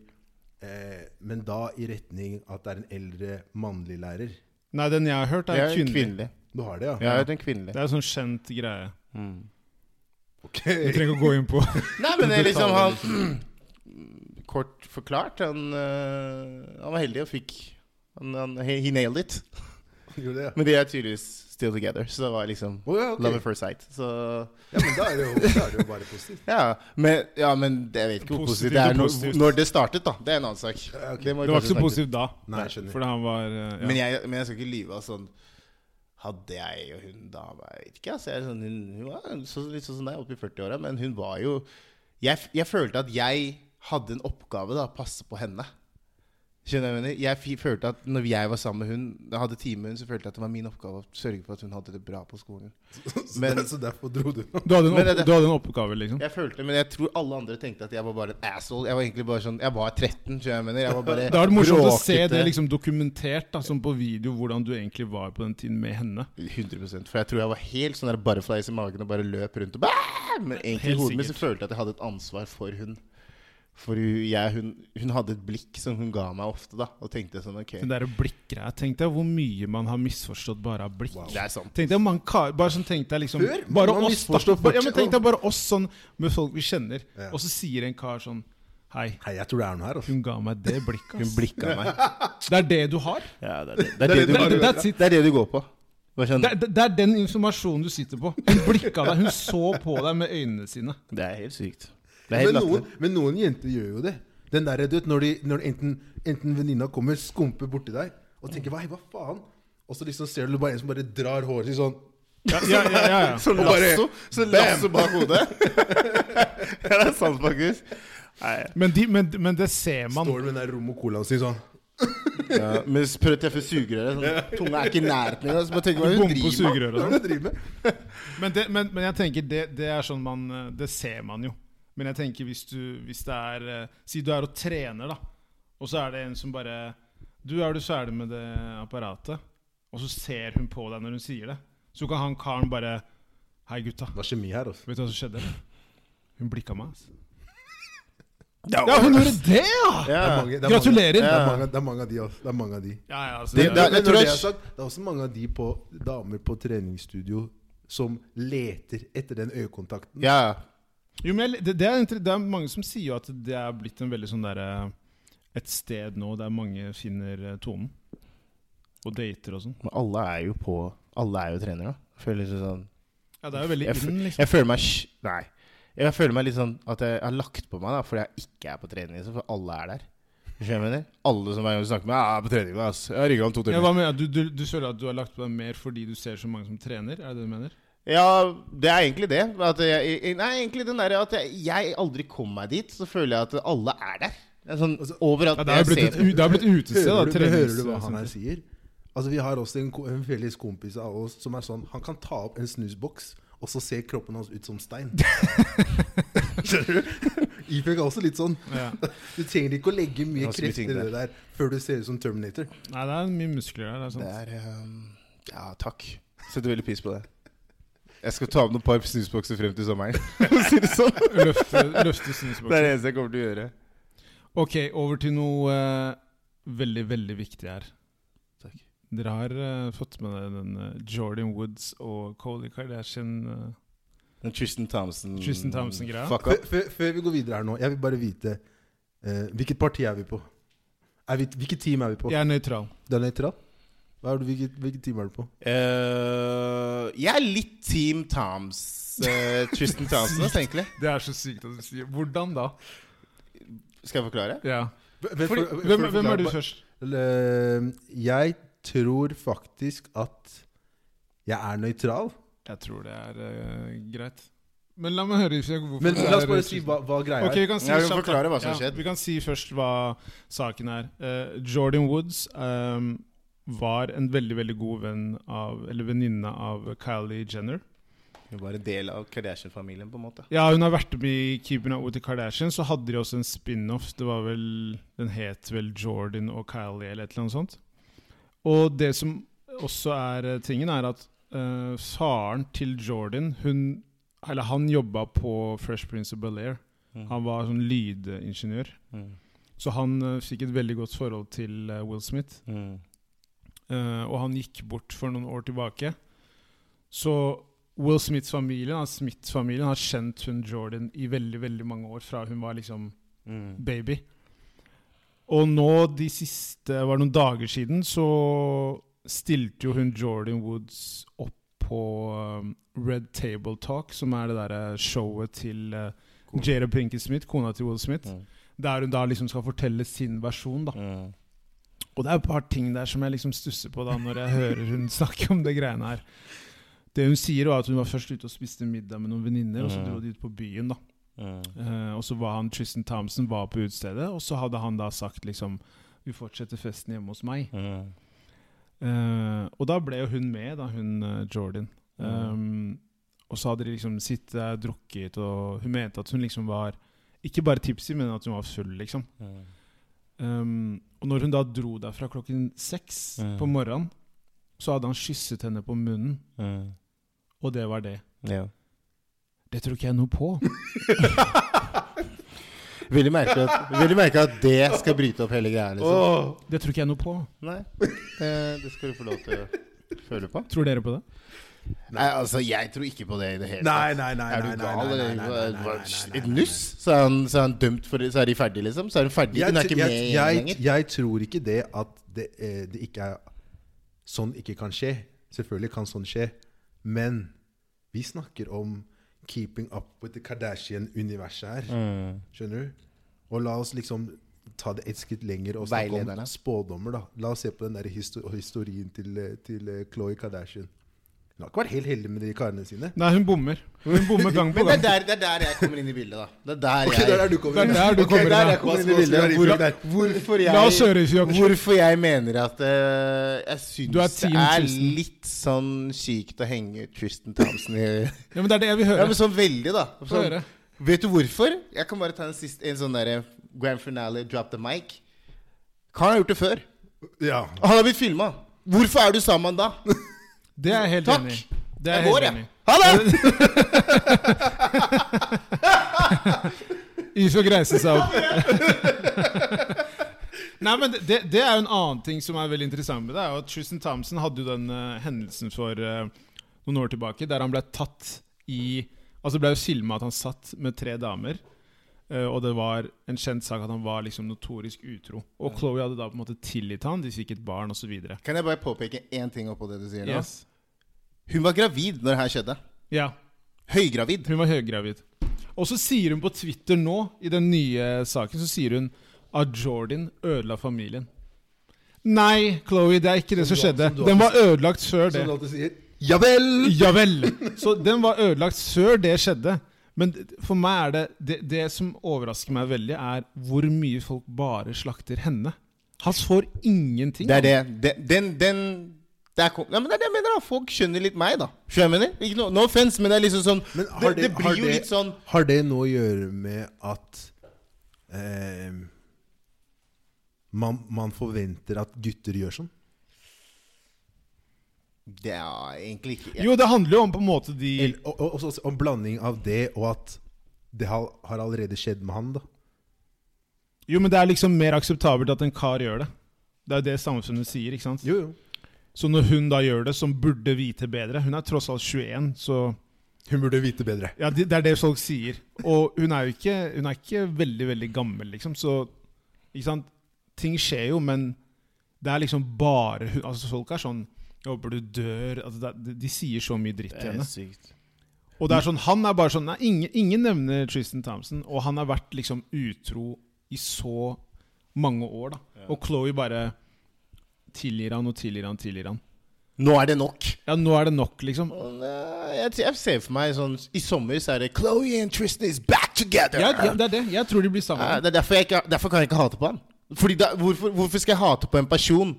eh, men da i retning at det er en eldre mannlig lærer. Nei, den jeg har hørt, Jeg er er kvinnelig. kvinnelig. Du har det, ja? Jeg er en kvinnelig. Mm. Det er en sånn kjent greie. Ok. Vi trenger ikke å gå inn på Nei, men det liksom- er liksom han Kort forklart, han, eh, han var heldig og fikk han, han, he, he nailed it. Gjorde det, ja. Men de er tydeligvis still together, så det var liksom Å, ja, ok. love at first sight. Så ja, men da er, det jo, da er det jo bare positivt. Ja, men, ja, men det- jeg vet ikke hvor Positivt positivt det er og når, positivt. når det startet, da. Det er en annen sak. Ja, må vi ok. Det var kanskje ikke så snakke positivt da, Nei, jeg skjønner. fordi han var eh, ja. Men jeg, men jeg skal ikke lyve av sånn hadde jeg og hun da Jeg vet ikke, altså. Jeg, er sånn, hun, hun var så, litt sånn som deg, oppi 40-åra, men hun var jo jeg, f- jeg følte at jeg hadde en oppgave, da. Passe på henne. Skjønner du hva jeg mener? Jeg fi- følte at når jeg var sammen med hun, da hadde tid med hun, så følte jeg at det var min oppgave å sørge for at hun hadde det bra på skolen. Så, Men- der, så derfor dro du. Du hadde, en Men er opp, det- du hadde en oppgave, liksom? Jeg følte, men jeg tror alle andre tenkte at jeg var bare en asshole. Jeg var egentlig bare sånn Jeg var 13, tror jeg jeg mener. Jeg var bare Da er det morsomt å se bråkete. det liksom dokumentert da, som på video, hvordan du egentlig var på den tiden med henne. 100 For jeg tror jeg var helt sånn der butterflies i magen og bare løp rundt og bæ! Men egentlig i Helt hodet mitt så sikkert. følte jeg at jeg hadde et ansvar for hun. For hun, jeg, hun, hun hadde et blikk som hun ga meg ofte, da. Og tenkte sånn OK, Den der blikkgreia. Tenk deg hvor mye man har misforstått bare av blikk. det er sant. Tenk deg mange kar, bare sånn tenk deg liksom Hør, bare man oss, da. misforstår Bare- ja, men fortsatt. tenk deg bare oss sånn med folk vi kjenner, Ja. og så sier en kar sånn Hei, Hei, jeg tror det er noe her. Altså. hun ga meg det blikket. Hun ass. blikka meg. Det er det du har. Ja, det, er det. Det, er det, du, det- det, that's it. er det du går på. Bare sånn, Det, er- det, det er den informasjonen du sitter på. Hun blikka deg, hun så på deg med øynene sine. det er helt sykt. Det er Men helt noen, latterlig. men noen jenter gjør jo det. Den der, du vet, Når, de, når enten, enten venninna kommer, skumper borti deg og tenker hva, hva faen? Og så liksom ser du bare en som bare drar håret sitt sånn. Ja, ja, ja, ja, ja. Så Og bare- lasso, så lasso bak hodet. Ja, det er sant, faktisk. Nei, Men, de, men, men det ser man. Står du med den der rom og colaen sin sånn. ja, men prøv å treffe sugerøret. Sånn, tunga er ikke i nærheten engang. Så bare tenker man, hun Bom på driver med sugerøret. sånn. Hva er det du driver med? Men, det, men, men jeg tenker det, det er sånn man eh, Det ser man jo. Men jeg tenker hvis du hvis det er eh, Si du er og trener, da. Og så er det en som bare Du, er du ferdig med det apparatet? Og så ser hun på deg når hun sier det. Så kan han karen bare Hei, gutta. Det var kjemi her, altså. Vet du hva som skjedde? Hun blikka meg. altså. ass. Ja, Ja, hun gjorde det, ja! Ja. Det er mange- det er Gratulerer! Mange, Ja. det, er mange, det er mange av de, altså. Det er mange av de. Ja, ja, altså, Det- det, det- er- jeg Men tror når det jeg- er sagt, det er også mange av de på, damer på treningsstudio som leter etter den øyekontakten. Ja, ja. jo, men jeg- det, det, er, inter- det er mange som sier jo at det er blitt en veldig sånn derre Et sted nå der mange finner eh, tonen. Og dater og sånn. Men alle er jo på Alle er jo trenere. da. Føler liksom sånn Ja, det er jo veldig Jeg fø- inn, liksom. Jeg føler meg sj- Nei. Jeg føler meg litt sånn at jeg har lagt på meg da fordi jeg ikke er på trening. liksom, For alle er der. Skjønner du hva jeg mener? Alle som hver gang du snakker med meg, er på trening. Ass. Jeg rigger om to Ja, timer. hva mener du? Du, du, du føler at du har lagt på deg mer fordi du ser så mange som trener? Er det det du mener? Ja, det er egentlig det. At jeg, nei, egentlig den der at jeg, jeg aldri kom meg dit, så føler jeg at alle er der. Det er sånn overalt Ja, det er jo jeg blitt, et, ser u- det er blitt utested, da. Hører du, hører du hva han Treningssenter. her sier? Altså, vi har også en, ko- en felles kompis av oss som er sånn Han kan ta opp en snusboks, og så ser kroppen hans ut som stein. Skjønner du? Ifek er også litt sånn. Ja. Du trenger ikke å legge mye Ganske mye krefter i tyngde. det der før du ser ut som Terminator. Nei, det er mye muskler der. Det er Det sant. er ehm, Ja, takk. Setter veldig pris på det. Jeg skal ta med noen par snusbokser frem til sommeren. for å si det sånn. Løfte, løfte Det er snusboksen. det eneste jeg kommer til å gjøre. Ok, over til noe eh, veldig, veldig viktig her. Takk. Dere har eh, fått med dere den eh, Jordan Woods og Coley Kardashian eh, Den Tristan Thompson Tristan Thompson-greia. Mm, Fuck Før, up. før, før vi går videre her nå, jeg vil bare vite eh, Hvilket parti er vi på? Er vi, hvilket team er vi på? Jeg er nøytral. Du er nøytral? Hva er du, hvilket, hvilket team er du på? Eh, jeg er litt Team Toms. eh, Tristan Thompson, ass, egentlig. Det er så sykt at du sier Hvordan da? Skal jeg forklare? Ja. Hvem, Fordi, hvem, hvem er du først? Jeg tror faktisk at jeg er nøytral. Jeg tror det er eh, greit. Men la meg høre Ifjell, hvorfor Men du la oss er, eh, bare si Tristan. hva, hva greia Ok, vi kan si, Ja, vi må kjapt, da. forklare hva som har skjedd. Vi kan si først hva saken er. Eh, Jordan Woods ehm, var en veldig veldig god venn av, eller venninne av Kylie Jenner. Hun var en del av Kardashian-familien, på en måte. Ja, Hun har vært med i Keeping Up With The Kardashians. Så hadde de også en spin-off. Det var vel, Den het vel Jordan og Kylie eller et eller annet sånt. Og det som også er eh, tingen, er at eh, faren til Jordan hun, Eller han jobba på Fresh Prince of Bel-Air. Han var sånn lydingeniør. Mm. Så han eh, fikk et veldig godt forhold til eh, Will Smith. Mm. Eh, og han gikk bort for noen år tilbake. Så Will Smiths-familien altså Smith-familien, har kjent hun Jordan i veldig veldig mange år, fra hun var liksom Mm. baby. Og nå de siste var det noen dager siden, så stilte jo hun Jordan Woods opp på um, Red Table Talk, som er det derre showet til uh, Kona. Jada Pinkett Smith, kona til Will Smith. Mm. Der hun da liksom skal fortelle sin versjon, da. Mm. Og det er et par ting der som jeg liksom stusser på da når jeg hører hun snakke om det greiene her. Det hun sier, var at hun var først ute og spiste middag med noen venninner, og så Mhm. dro de ut på byen. da. Eh, og så var han Tristan Thompson var på utestedet, og så hadde han da sagt liksom Vi fortsetter festen hjemme hos meg. Mm, Eh, og da ble jo hun med, da, hun eh, Jordan. Um, og så hadde de liksom sittet der, drukket, og hun mente at hun liksom var Ikke bare tipsy, men at hun var full, liksom. mm, Um, og når hun da dro derfra klokken seks Mm. på morgenen, så hadde han kysset henne på munnen, og det var det. mm. Ja. Det tror ikke jeg noe på. Vil du merke at, vil du merke at det skal bryte opp hele greia? Liksom? Åh! Det tror ikke jeg noe på. Nei, det, det skal du få lov til å føle på. Tror dere på det? Nei, altså, jeg tror ikke på det i det hele Nei, nei, nei. Er du nei, nei, gal? nei, eller? nei, nei, nei, nei, Hva- nei, nei, Et nei. nuss? Så er, han, så er han dømt for det, så er de ferdige, liksom? Så er hun ferdig? Jeg, Hun er ikke med jeg, jeg, lenger? jeg tror ikke det at det, eh, det ikke er Sånn ikke kan skje. Selvfølgelig kan sånn skje. Men vi snakker om keeping up with the Kardashian-universet her. Skjønner du? Og la oss liksom ta det et skritt lenger og snakke Veilederne. om spådommer. da. La oss se på den der histo historien til, eh, til Chloé Kardashian. Hun har ikke vært helt heldig med de karene sine. Nei, hun bommer. Hun bommer gang på Men det er, der, gang. det er der jeg kommer inn i bildet, da. Det er der Ok, jeg, der er du Det kommet er inn. der du Ok, kommer der er jeg inn. da. kommer inn i Hvorfor bildet. skal du være Hvor, hvorfor, La oss jeg, høre, Jakob. hvorfor jeg mener at eh, jeg Du er syns det team er Tristan. litt sånn kjipt å henge ut Tristan Thompson i Ja, men det er det jeg vil Ja, høre. men sånn veldig, da. Få Sånn, høre. Vet du hvorfor? Jeg kan bare ta en, siste, en sånn der grand finale, drop the mic. Karen har gjort det før. Ja. Han har blitt filma. Hvorfor er du sammen da? Det er jeg helt Takk. enig i. Det er Jeg jeg går, helt enig jeg. i. Ha det! Ifjok reiser seg opp. Nei, men det, det er jo en annen ting som er veldig interessant med det. er jo at Tristan Thompson hadde jo den eh, hendelsen for eh, noen år tilbake der han ble tatt i Altså det ble jo filma at han satt med tre damer. eh, og det var en kjent sak at han var liksom notorisk utro. Og Chloé hadde da på en måte tilgitt han, de fikk et barn osv. Kan jeg bare påpeke én ting oppå det du sier nå? Yes. Hun var gravid når det her skjedde. Ja, Høygravid. Hun var høygravid. Og så sier hun på Twitter nå, i den nye saken, så sier hun at Jordan ødela familien. Nei, Chloé, det er ikke det som Som du- skjedde. som du Den var alltid- ødelagt før det. Som Sånn du alltid sier. Ja vel! Ja vel! Så den var ødelagt før det skjedde. Men d- for meg er det, det Det som overrasker meg veldig, er hvor mye folk bare slakter henne. Han får ingenting. Det er det. Den, den, den der kom, ja, men det er det jeg mener. da Folk skjønner litt meg, da. Skjønner jeg mener? Ikke no, no offense, men det er liksom sånn Men det, har det det- har blir jo det- litt sånn Har det noe å gjøre med at eh, man, man forventer at gutter gjør sånn? Det er egentlig ikke Jo, det handler jo om på en måte de Eller- Og, og, og, og blanding av det og at det har, har allerede skjedd med han, da. Jo, men det er liksom mer akseptabelt at en kar gjør det. Det er jo det samfunnet sier, ikke sant? Jo, jo. Så når hun da gjør det, som burde vite bedre Hun er tross alt 21, så Hun burde vite bedre. Ja, det, det er det folk sier. Og hun er jo ikke, hun er ikke veldig, veldig gammel, liksom, så Ikke sant? Ting skjer jo, men det er liksom bare hun Altså, folk er sånn Jeg håper du dør altså, det, er- De sier så mye dritt til henne. sykt. Og det er sånn, han er bare sånn nei, ingen, ingen nevner Tristan Thompson, og han har vært liksom utro i så mange år, da. Og Chloé bare tilgir han og tilgir han tilgir han. Nå er det nok. Ja, nå er det nok, liksom. Og, eh, Jeg, jeg ser for meg sånn I sommer så er det Chloé and Tristan is back together. Ja, ja, det er det. Jeg tror de blir Ja, sammen. det er derfor, jeg ikke, derfor kan jeg ikke hate på han. Fordi da, hvorfor, hvorfor skal jeg hate på en person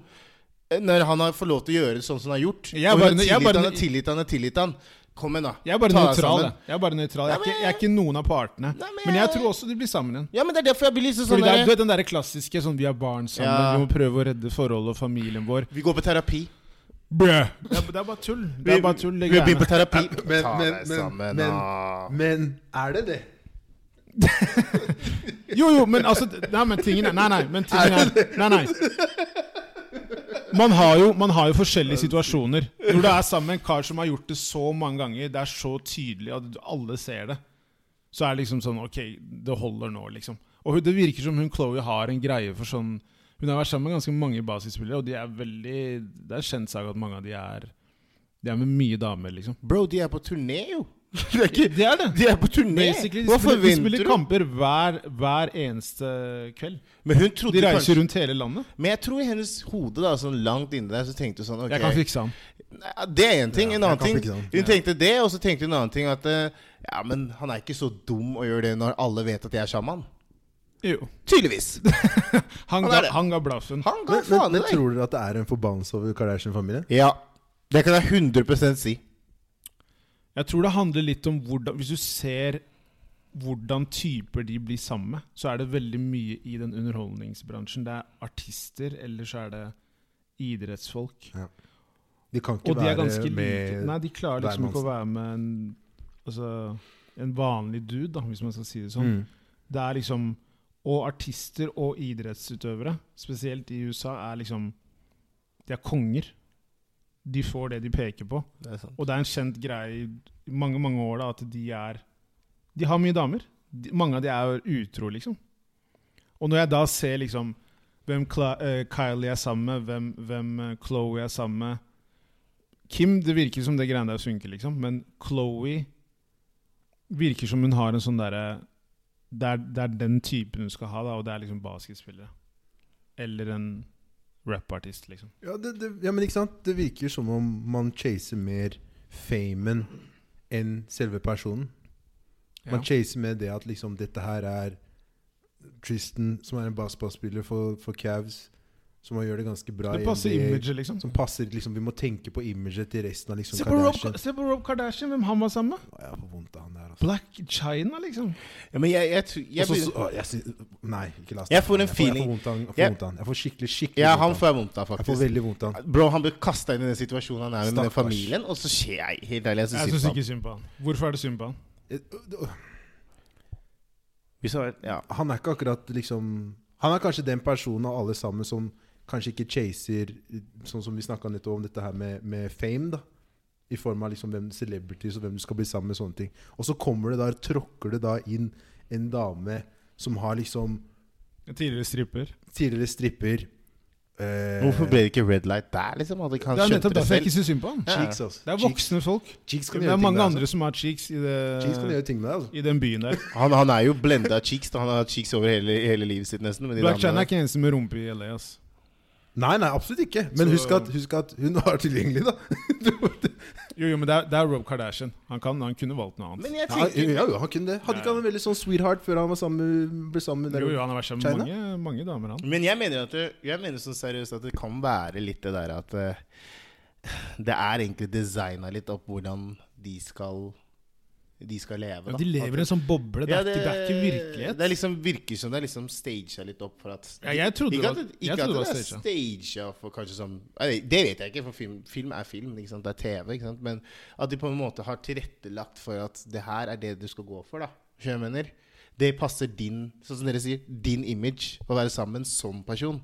eh, når han har fått lov til å gjøre sånn som han har gjort? Jeg er og bare- hun har jeg er tilgitt bare- han og tilgitt han og tilgitt han. Kom igjen, da. Jeg er bare Ta deg nøytral. sammen. Jeg. jeg er bare nøytral. Jeg Nei, er men- ikke, jeg er ikke noen av partene. Nei, men Men jeg jeg- tror også de blir sammen igjen. Ja, men det er derfor jeg blir litt sånn Fordi det er, du der, vet den der klassiske sånn 'vi er barn sammen', Ja. vi må prøve å redde forholdet og familien vår. Vi går på terapi. Brø. Det er, det er bare tull. Det er bare tull, det Vi har begynt på greiene. terapi. Men- Ta men- deg men- sammen, men- da. Men er det det? Jo, jo, men altså Nei, men tingen er Nei, nei. Men tingen er, nei, nei. Man har, jo, man har jo forskjellige situasjoner. Når du er sammen med en kar som har gjort det så mange ganger, det er så tydelig at alle ser det, så er det liksom sånn Ok, det holder nå, liksom. Og hun- det virker som hun Chloé har en greie for sånn Hun har vært sammen med ganske mange basketspillere, og de er veldig Det er kjent sak at mange av de er De er med mye damer, liksom. Bro, de er på turné, jo. Det er ikke, Det er det! de er på turné! Basically, de Hva spiller, de forventer spiller du? kamper hver, hver eneste kveld. Men hun trodde De reiser kanskje rundt hele landet. Men jeg tror i hennes hode, da sånn langt inni der, så tenkte hun sånn ok, Jeg kan fikse han. Nei, Det er én ting. Ja, en jeg annen kan ting fikse den. Hun tenkte det, og så tenkte hun en annen ting at eh, Ja, men han er ikke så dum å gjøre det når alle vet at jeg er sjaman. Jo. Tydeligvis. Han Han, er ga, det. han ga blaffen. Han ga Men, men, faen i men deg. tror dere at det er en forbannelse over Kardashian-familien? Ja. Det kan jeg 100 si. Jeg tror det handler litt om hvordan Hvis du ser hvordan typer de blir sammen med, så er det veldig mye i den underholdningsbransjen. Det er artister, eller så er det idrettsfolk. De kan ikke Og de er være ganske like. med Nei, de klarer liksom ikke å Wermansen. være med en, altså, en vanlig dude, da, hvis man skal si det sånn. Mm. Det er liksom Og artister og idrettsutøvere, spesielt i USA, er liksom De er konger. De får det de peker på. Det er sant. Og det er en kjent greie i mange mange år da, at de er De har mye damer. De, mange av de er jo utro, liksom. Og når jeg da ser liksom hvem Kla eh, Kylie er sammen med, hvem, hvem Chloé er sammen med Kim, det virker som det greiene der funker, liksom. Men Chloé virker som hun har en sånn derre det, er- det er den typen hun skal ha, da, og det er liksom basketspillere. Eller en rappartist, liksom. Ja, det, det, ja, men ikke sant? Det virker som om man chaser mer famen enn selve personen. Man chaser med det at liksom dette her er Tristan, som er en basketballspiller for, for Cavs, som har gjør det ganske bra det i passer NBA, imaget, liksom. Som passer, liksom, Vi må tenke på imaget til resten av liksom Se på, Rob, Kardashian. se på Rob Kardashian, hvem han var sammen med. Å, jeg får vondt av han der, altså. Black China, liksom. Ja, men jeg, jeg, tror- jeg, Også, begynner- så, å, jeg sy- nei, ikke la oss Jeg snakke får om en det. Jeg feeling. får, jeg får vondt av han. Jeg får, Jeg- vondt av han. jeg får skikkelig, skikkelig ja, vondt han av får jeg vondt av, Jeg får faktisk. veldig vondt av han. Bro, han ble kasta inn i den situasjonen han er i med den Stakkars. familien, og så skjer jeg helt ærlig. Jeg Jeg synes syns synd på ikke synd på han. Hvorfor er det synd på han? Eh, han. Hvis han- Ja. han er ikke akkurat liksom Han er kanskje den personen av alle sammen som kanskje ikke chaser Sånn som vi snakka nettopp om dette her med, med fame, da. I form av liksom hvem celebrities og hvem du skal bli sammen med. sånne ting Og så kommer det da, tråkker det da inn en dame som har liksom Tidligere stripper. tidligere stripper eh, Hvorfor ble det ikke red light der, liksom? Hadde ikke han Det er skjønt nettopp det altså, derfor jeg selv? ikke syns synd på han. Ja. Cheeks, altså. Det er Cheeks- voksne folk. Cheeks kan Det gjøre er ting mange med, andre altså. som har cheeks i, Cheeks kan det, gjøre ting med, altså. i den byen der. Han, han er jo blenda av cheeks. da. Han har hatt cheeks over hele, hele livet sitt, nesten. Med de Black China damene er ikke eneste med rumpe i LA, ass. Nei, nei, absolutt ikke. Men Så- husk at, husk at hun var tilgjengelig, da. Jo, jo, men det er, det er Rob Kardashian. Han, kan, han kunne valgt der. noe annet. Men jeg Ja, tenker ja, jo, han kunne det. Hadde ikke han en veldig sånn sweetheart før han var sammen, ble sammen med Jo, jo, han har vært sammen med China? mange, mange damer, han. Men jeg mener, at det, jeg mener sånn seriøst at det kan være litt det der at eh, Det er egentlig designa litt opp hvordan de skal De skal leve, da. de lever i en sånn boble. Det Ja, er, ikke, det er ikke virkelighet. Det er liksom, virker som det er liksom staged litt opp for at Ja, jeg trodde Ikke det at var- det, jeg ikke at trodde det det var er staged for kanskje som Nei, Det vet jeg ikke, for film, film er film. Ikke sant? Det er TV. Ikke sant? Men at de på en måte har tilrettelagt for at det her er det du skal gå for. da Skjønner du hva jeg mener? Det passer din Sånn som dere sier, din image å være sammen som person.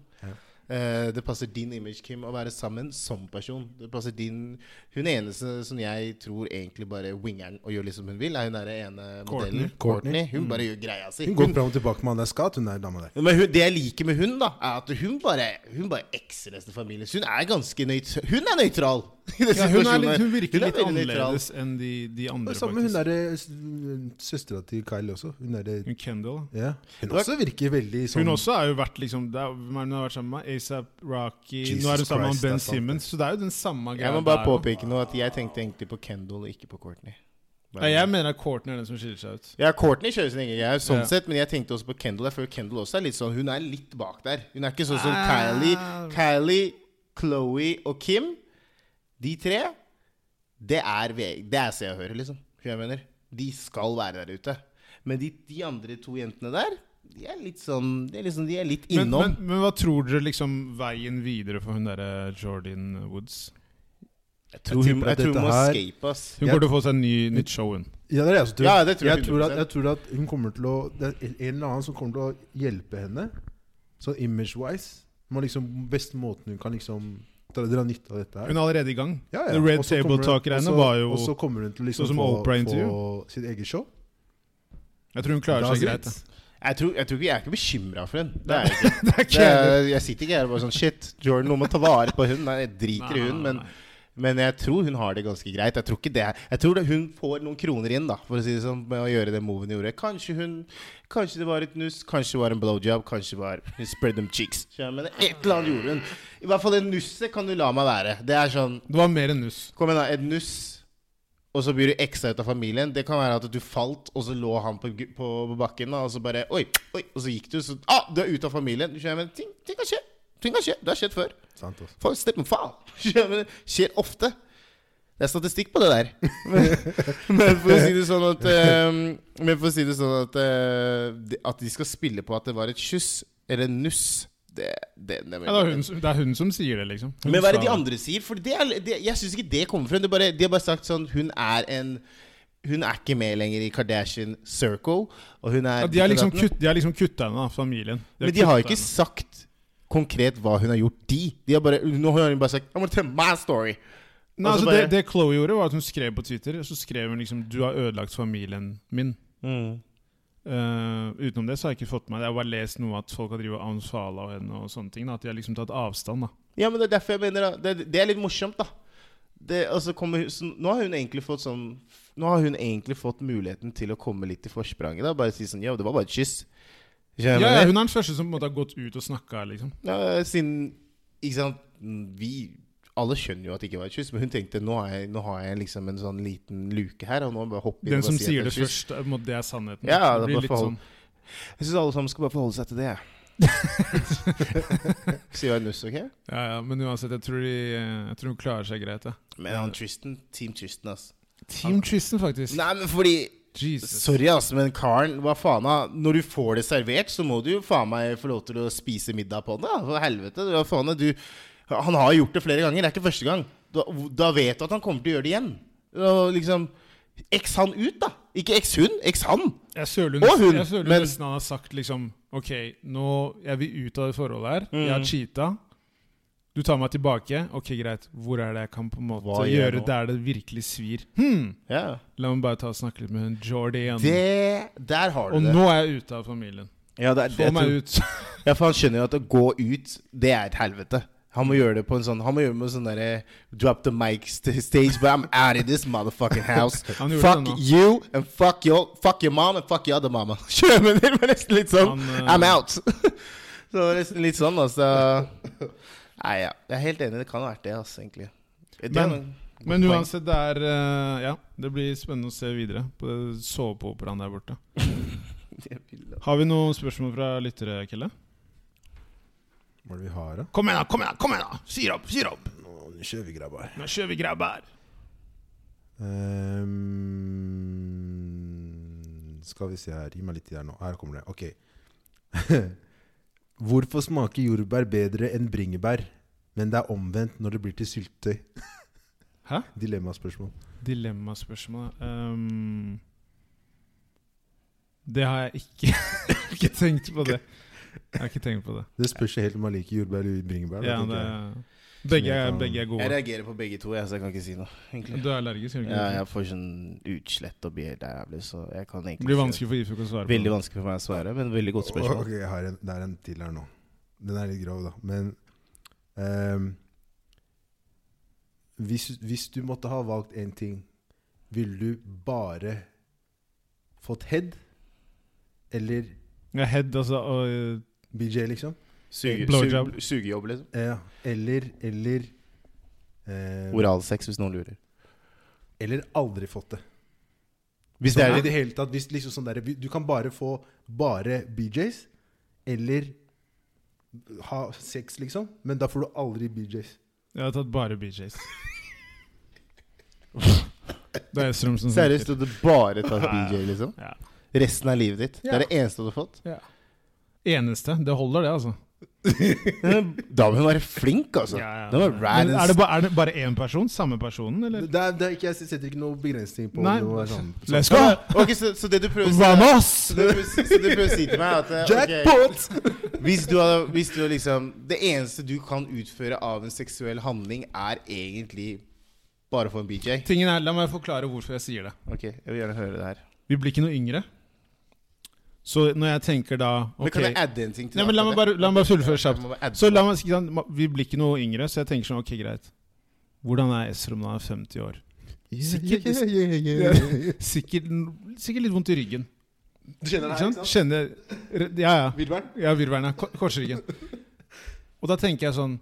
Eh, det passer din image, Kim, å være sammen som person. Det passer din Hun eneste som jeg tror egentlig bare wingeren og gjør litt som hun vil, er hun derre ene Courtney. modellen. Courtney. Hun bare gjør greia si. Hun går fram og tilbake med han der skatt, hun der dama der. Men hun, det jeg liker med hun, da, er at hun bare Hun bare ekser resten av familien. Så hun er ganske nøytral. Hun er nøytral! i den Ja, hun, er situasjonen litt, her. hun virker er litt veldig nøytral. annerledes enn de, de Det andre, er Sammen med hun faktisk. derre søstera til Kylie også. Hun derre Hun Kendall. ja. Hun også virker veldig sånn Hun også har jo vært liksom det er, hvem er det Hun har vært sammen med ASAP Rocky Nå er hun Jesus sammen med Christ, det Ben er sant, Simmons, så det er jo den samme greia. Jeg må bare der også. påpeke noe at jeg tenkte egentlig på Kendall og ikke på Courtney. Nei, jeg mener at Courtney er den som skiller seg ut. Ja, Courtney kjører sin egen greie, sånn Ja. sett, men jeg tenkte også på Kendall. Jeg føler Kendall også er litt sånn Hun er litt bak der. Hun er ikke sånn som Ah. Kylie. Kylie, Chloé og Kim, de tre, det er, ve- det er Se og Hør, liksom. Skjønner du hva Jeg mener. De skal være der ute. Men de, de andre to jentene der, de er litt sånn De er, liksom, de er litt Men, innom. men, men hva tror dere liksom veien videre for hun derre Jordan Woods? jeg tror hun, tipper at jeg tror hun dette må her- escape, ass. Hun Jeg- går til å få seg en ny, nytt show, hun. Ja, det er det jeg også tror. Ja, det tror jeg jeg, tror at, 100%. jeg tror at hun kommer til å Det er en eller annen som kommer til å hjelpe henne, sånn image-wise. Må liksom Beste måten hun kan liksom dra, dra nytte av dette her. Hun er allerede i gang. Ja, ja. The Red Og så Table kommer hun- Talk-greiene og så- var jo- Og så kommer hun til å liksom sånn som få, Oprah intervju. få sitt eget show. Jeg tror hun klarer Does seg it? greit. da. Jeg, tror, jeg, tror ikke, jeg er ikke bekymra for henne. Det er jeg ikke. Det er Det ikke er, jeg sitter ikke her og bare sånn Shit, Jordan, nå må ta vare på hun. Nei, jeg driter i hun, men Men jeg tror hun har det ganske greit. Jeg tror, ikke det. er- Jeg tror det, hun får noen kroner inn da For å si det sånn med å gjøre den moven hun gjorde. Kanskje hun Kanskje det var et nuss, kanskje det var en blowjob, kanskje det var hun spread them cheeks. Skjønner du? Men et eller annet gjorde hun. I hvert fall det nusset kan du la meg være. Det er sånn Det var mer enn nuss. Kom igjen, da. Et nuss. Og så blir du eksa ut av familien. Det kan være at du falt, og så lå han på, gu- på, på bakken, da, og så bare Oi, oi. Og så gikk du, så ah, Du er ute av familien. Du skjønner, men ting, ting kan skje. Ting kan skje. Det har skjedd før. Sant, altså. ass. Folk slipper en faen. Skjønner du? Det skjer ofte. Det er statistikk på det der. Men, men for å si det sånn at eh, Men for å si det sånn at eh, de- At de skal spille på at det var et kyss eller en nuss, det, det, det, Ja, det, er hun, som- det er hun som sier det, liksom. Hun men hva er det sa de andre sier? For det er, det, jeg syns ikke det kommer frem. Det er bare, de har bare sagt sånn Hun er en Hun er ikke med lenger i Kardashian Circle. Og hun er Ja, de har liksom, ditten kutt, de har liksom kutta henne, da, familien. Men de har jo ikke kuttet sagt konkret hva hun har gjort, de. de har bare, nå har hun bare sagt I'm gonna tell my story. henne. Nei, altså altså, bare- det, det Chloé gjorde, var at hun skrev på Twitter Så skrev hun liksom 'Du har ødelagt familien min'. Mm. Eh, utenom det så har jeg ikke fått med meg det. Jeg har bare lest noe at folk har drevet og unfollowa henne og sånne ting. Da, at de har liksom tatt avstand, da. Ja, men det er derfor jeg mener da, det. Det er litt morsomt, da. Det, altså, kommer, hun- så, nå har hun egentlig fått sånn Nå har hun egentlig fått muligheten til å komme litt i forspranget. Da. Bare si sånn Ja, det var bare et kyss. Skjønner du hva jeg Ja, ja, mener? hun er den første som på en måte har gått ut og snakka, liksom. Ja, siden Ikke sant Vi Alle skjønner jo at det ikke var et kyss, men hun tenkte nå har jeg, nå har jeg liksom en sånn liten luke her. Og nå må jeg bare hoppe inn Den og bare som si at sier er det et kyss. først, er på en måte, det er sannheten. Ja, det det blir bare litt forhold- sånn Jeg syns alle sammen skal bare forholde seg til det. Sier jeg nuss, ok? Ja, ja, Men uansett, jeg tror, de, eh, jeg tror hun klarer seg greit. Ja. Men han Tristan, Team Tristan, ass. Team Tristan, faktisk. Nei, men fordi Jesus. Sorry, ass, men karen, hva faen da? Når du får det servert, så må du jo faen meg få lov til å spise middag på det. da. For helvete. Hva faen da? du, han har gjort det flere ganger, det er ikke første gang. Da, da vet du at han kommer til å gjøre det igjen. Og liksom Eks han ut, da! Ikke eks hun, eks han! Jeg søler Og hun, nesten, jeg søler men- nesten han har sagt liksom OK, nå jeg vil ut av det forholdet her. Jeg Mm. har cheata. Du tar meg tilbake. Ok, greit. Hvor er det jeg kan på en måte Hva gjør jeg gjøre nå? der det virkelig svir? Hmm. Ja. La meg bare ta og snakke litt med hun Jordan. Det Der har du Og det. nå er jeg ute av familien. Ja, det, er- Få jeg tror- meg ut. Ja, for han skjønner jo at å gå ut, det er et helvete. Han må gjøre det på en sånn Han må gjøre det med en sånn derre Drop the mic st stage, but I'm out of this motherfucking house. Han gjorde fuck det nå. you and fuck your Fuck your mom and fuck your other mama. Skjønner du? Det var nesten litt sånn. Han, eh, I'm out. så det var nesten litt sånn, altså. Nei, ja. Jeg er helt enig. Det kan ha vært det, altså, egentlig. Det er Men- noen gode Men poeng. uansett, det er eh, Ja, det blir spennende å se videre på det soveoperaen der borte. Har vi noen spørsmål fra lyttere, Kelle? Hva er det vi har, da? Kom igjen, da! Kom igjen, da! kom igjen da Fyr opp! Fyr opp! Nå kjører vi, grabbar. Nå kjører vi, grabber! Ehm, skal vi se her Gi meg litt tid her nå. Her kommer det. Ok. Hvorfor smaker jordbær bedre enn bringebær, men det er omvendt når det blir til syltetøy? Hæ? Dilemmaspørsmål. Dilemmaspørsmål um, Det har jeg ikke Jeg har ikke tenkt på det. Jeg har ikke tenkt på det. Det spørs jo helt om man liker jordbær eller bringebær. da, Ja, tenker det jeg. begge, er, begge er Jeg gode. reagerer på begge to, jeg, så jeg kan ikke si noe. Egentlig. Du er allergisk, er du Ja, ikke? jeg får sånn utslett og blir helt jævlig, så jeg kan egentlig Det blir ikke- vanskelig for Ifuk å svare på. Veldig vanskelig for meg å svare, men veldig godt spørsmål. Ok, jeg har en, det er en til her nå. Den er litt grov, da. Men ehm, hvis, hvis du måtte ha valgt én ting, ville du bare fått head eller Ja, head, altså. Og, BJ, liksom? Suge, Blowjob. suge, sugejobb, liksom. Ja. Eller eller ehm, Oralsex, hvis noen lurer. Eller aldri fått det. Hvis det Sånn, er I det hele tatt, hvis liksom sånn der, Du kan bare få bare BJs, eller ha sex, liksom. Men da får du aldri BJs. jeg har tatt bare BJs. Det er Strøm som Seriøst, snakker. du hadde bare tatt BJ, liksom? Ja. Resten av livet ditt? Det Ja. er det eneste du har fått? Eneste. Det holder, det, altså. Da må hun være flink, altså. Ja, ja. Da må hun være rad Men er, det and ba, er det bare én person? Samme personen, eller? Det er, det er ikke, jeg setter ikke noen begrensning på Nei. om det må være sånn. Let's Ja, go! Ok, så, så det du prøver å si Vamos! så det du prøver å si- så det du prøver å si til meg, er at eh, ok, Jackpot! hvis, du hadde, hvis du liksom Det eneste du kan utføre av en seksuell handling, er egentlig bare å få en BJ? Tingen er, La meg forklare hvorfor jeg sier det. Ok, jeg vil gjerne høre det her. Vi blir ikke noe yngre. Så når jeg tenker da Men ok kan jeg adde en ting til? Nei, men La meg akkurat bare, la meg bare fullføre det? Jeg kjapt. må bare adde Så la meg, ikke sant, ma- Vi blir ikke noe yngre, så jeg tenker sånn Ok, greit. Hvordan er Esrom når han er 50 år? Sikkert- Yeah, Sikkert, sikkert litt vondt i ryggen. Du kjenner Ikke det her, sant? ikke sant? Kjenner Ja, ja. Virvelen? Ja, virvelene. Ko- Korsryggen. Og da tenker jeg sånn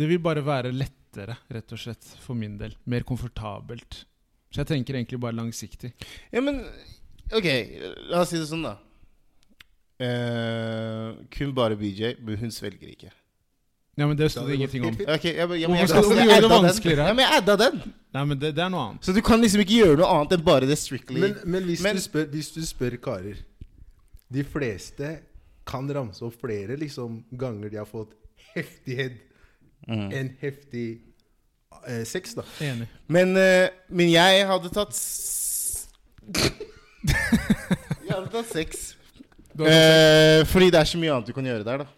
Det vil bare være lettere, rett og slett, for min del. Mer komfortabelt. Så jeg tenker egentlig bare langsiktig. Ja, men OK, la oss si det sånn, da. Eh, kun bare BJ, men hun svelger ikke. Ja, men det Da sto det hadde det gått ingenting om. helt Ok, ja, men, ja, men Hvorfor jeg, skal du jeg gjøre det adda den. vanskeligere? Ja, men jeg adda den. Nei, men det, det er noe annet. Så du kan liksom ikke gjøre noe annet enn bare det strictly. Men, men, hvis, Men- du spør, hvis du spør karer De fleste kan ramse opp flere liksom, ganger de har fått heftig head Mm. enn heftig eh, sex, da. Enig. Men, eh, men jeg hadde tatt s- Jeg hadde tatt sex. Du har- Eh, fordi det er så mye annet du kan gjøre der, da.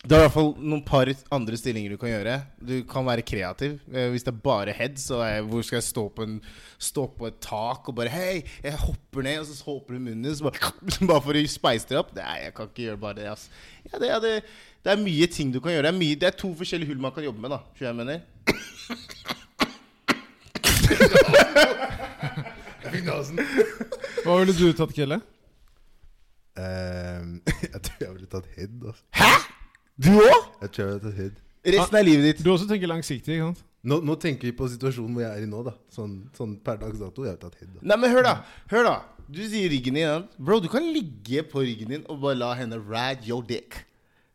Det er i hvert fall noen par andre stillinger du kan gjøre. Du kan være kreativ. Eh, hvis det er bare head, så er, hvor skal jeg stå på, en, stå på et tak og bare Hei, jeg hopper ned, og så håper du munnen din, så bare, bare for å speise det opp. Nei, jeg kan ikke gjøre bare det, ass. Ja, det, ja, det, det er mye ting du kan gjøre. Det er, mye, det er to forskjellige hull man kan jobbe med, da. Skjønner du hva jeg mener? Hva ville du tatt, Kelle? Ehm, jeg tror jeg ville tatt head. Altså. Hæ?! Du òg?! Jeg tror jeg ville tatt head. Resten av livet ditt. Du også tenker langsiktig, ikke sant? Nå, nå tenker vi på situasjonen hvor jeg er i nå, da. Sånn, sånn per dags dato. Jeg ville tatt head. Da. Nei, men hør da. Hør da. Du sier ryggen din. ja. Bro, du kan ligge på ryggen din og bare la henne rad your dick.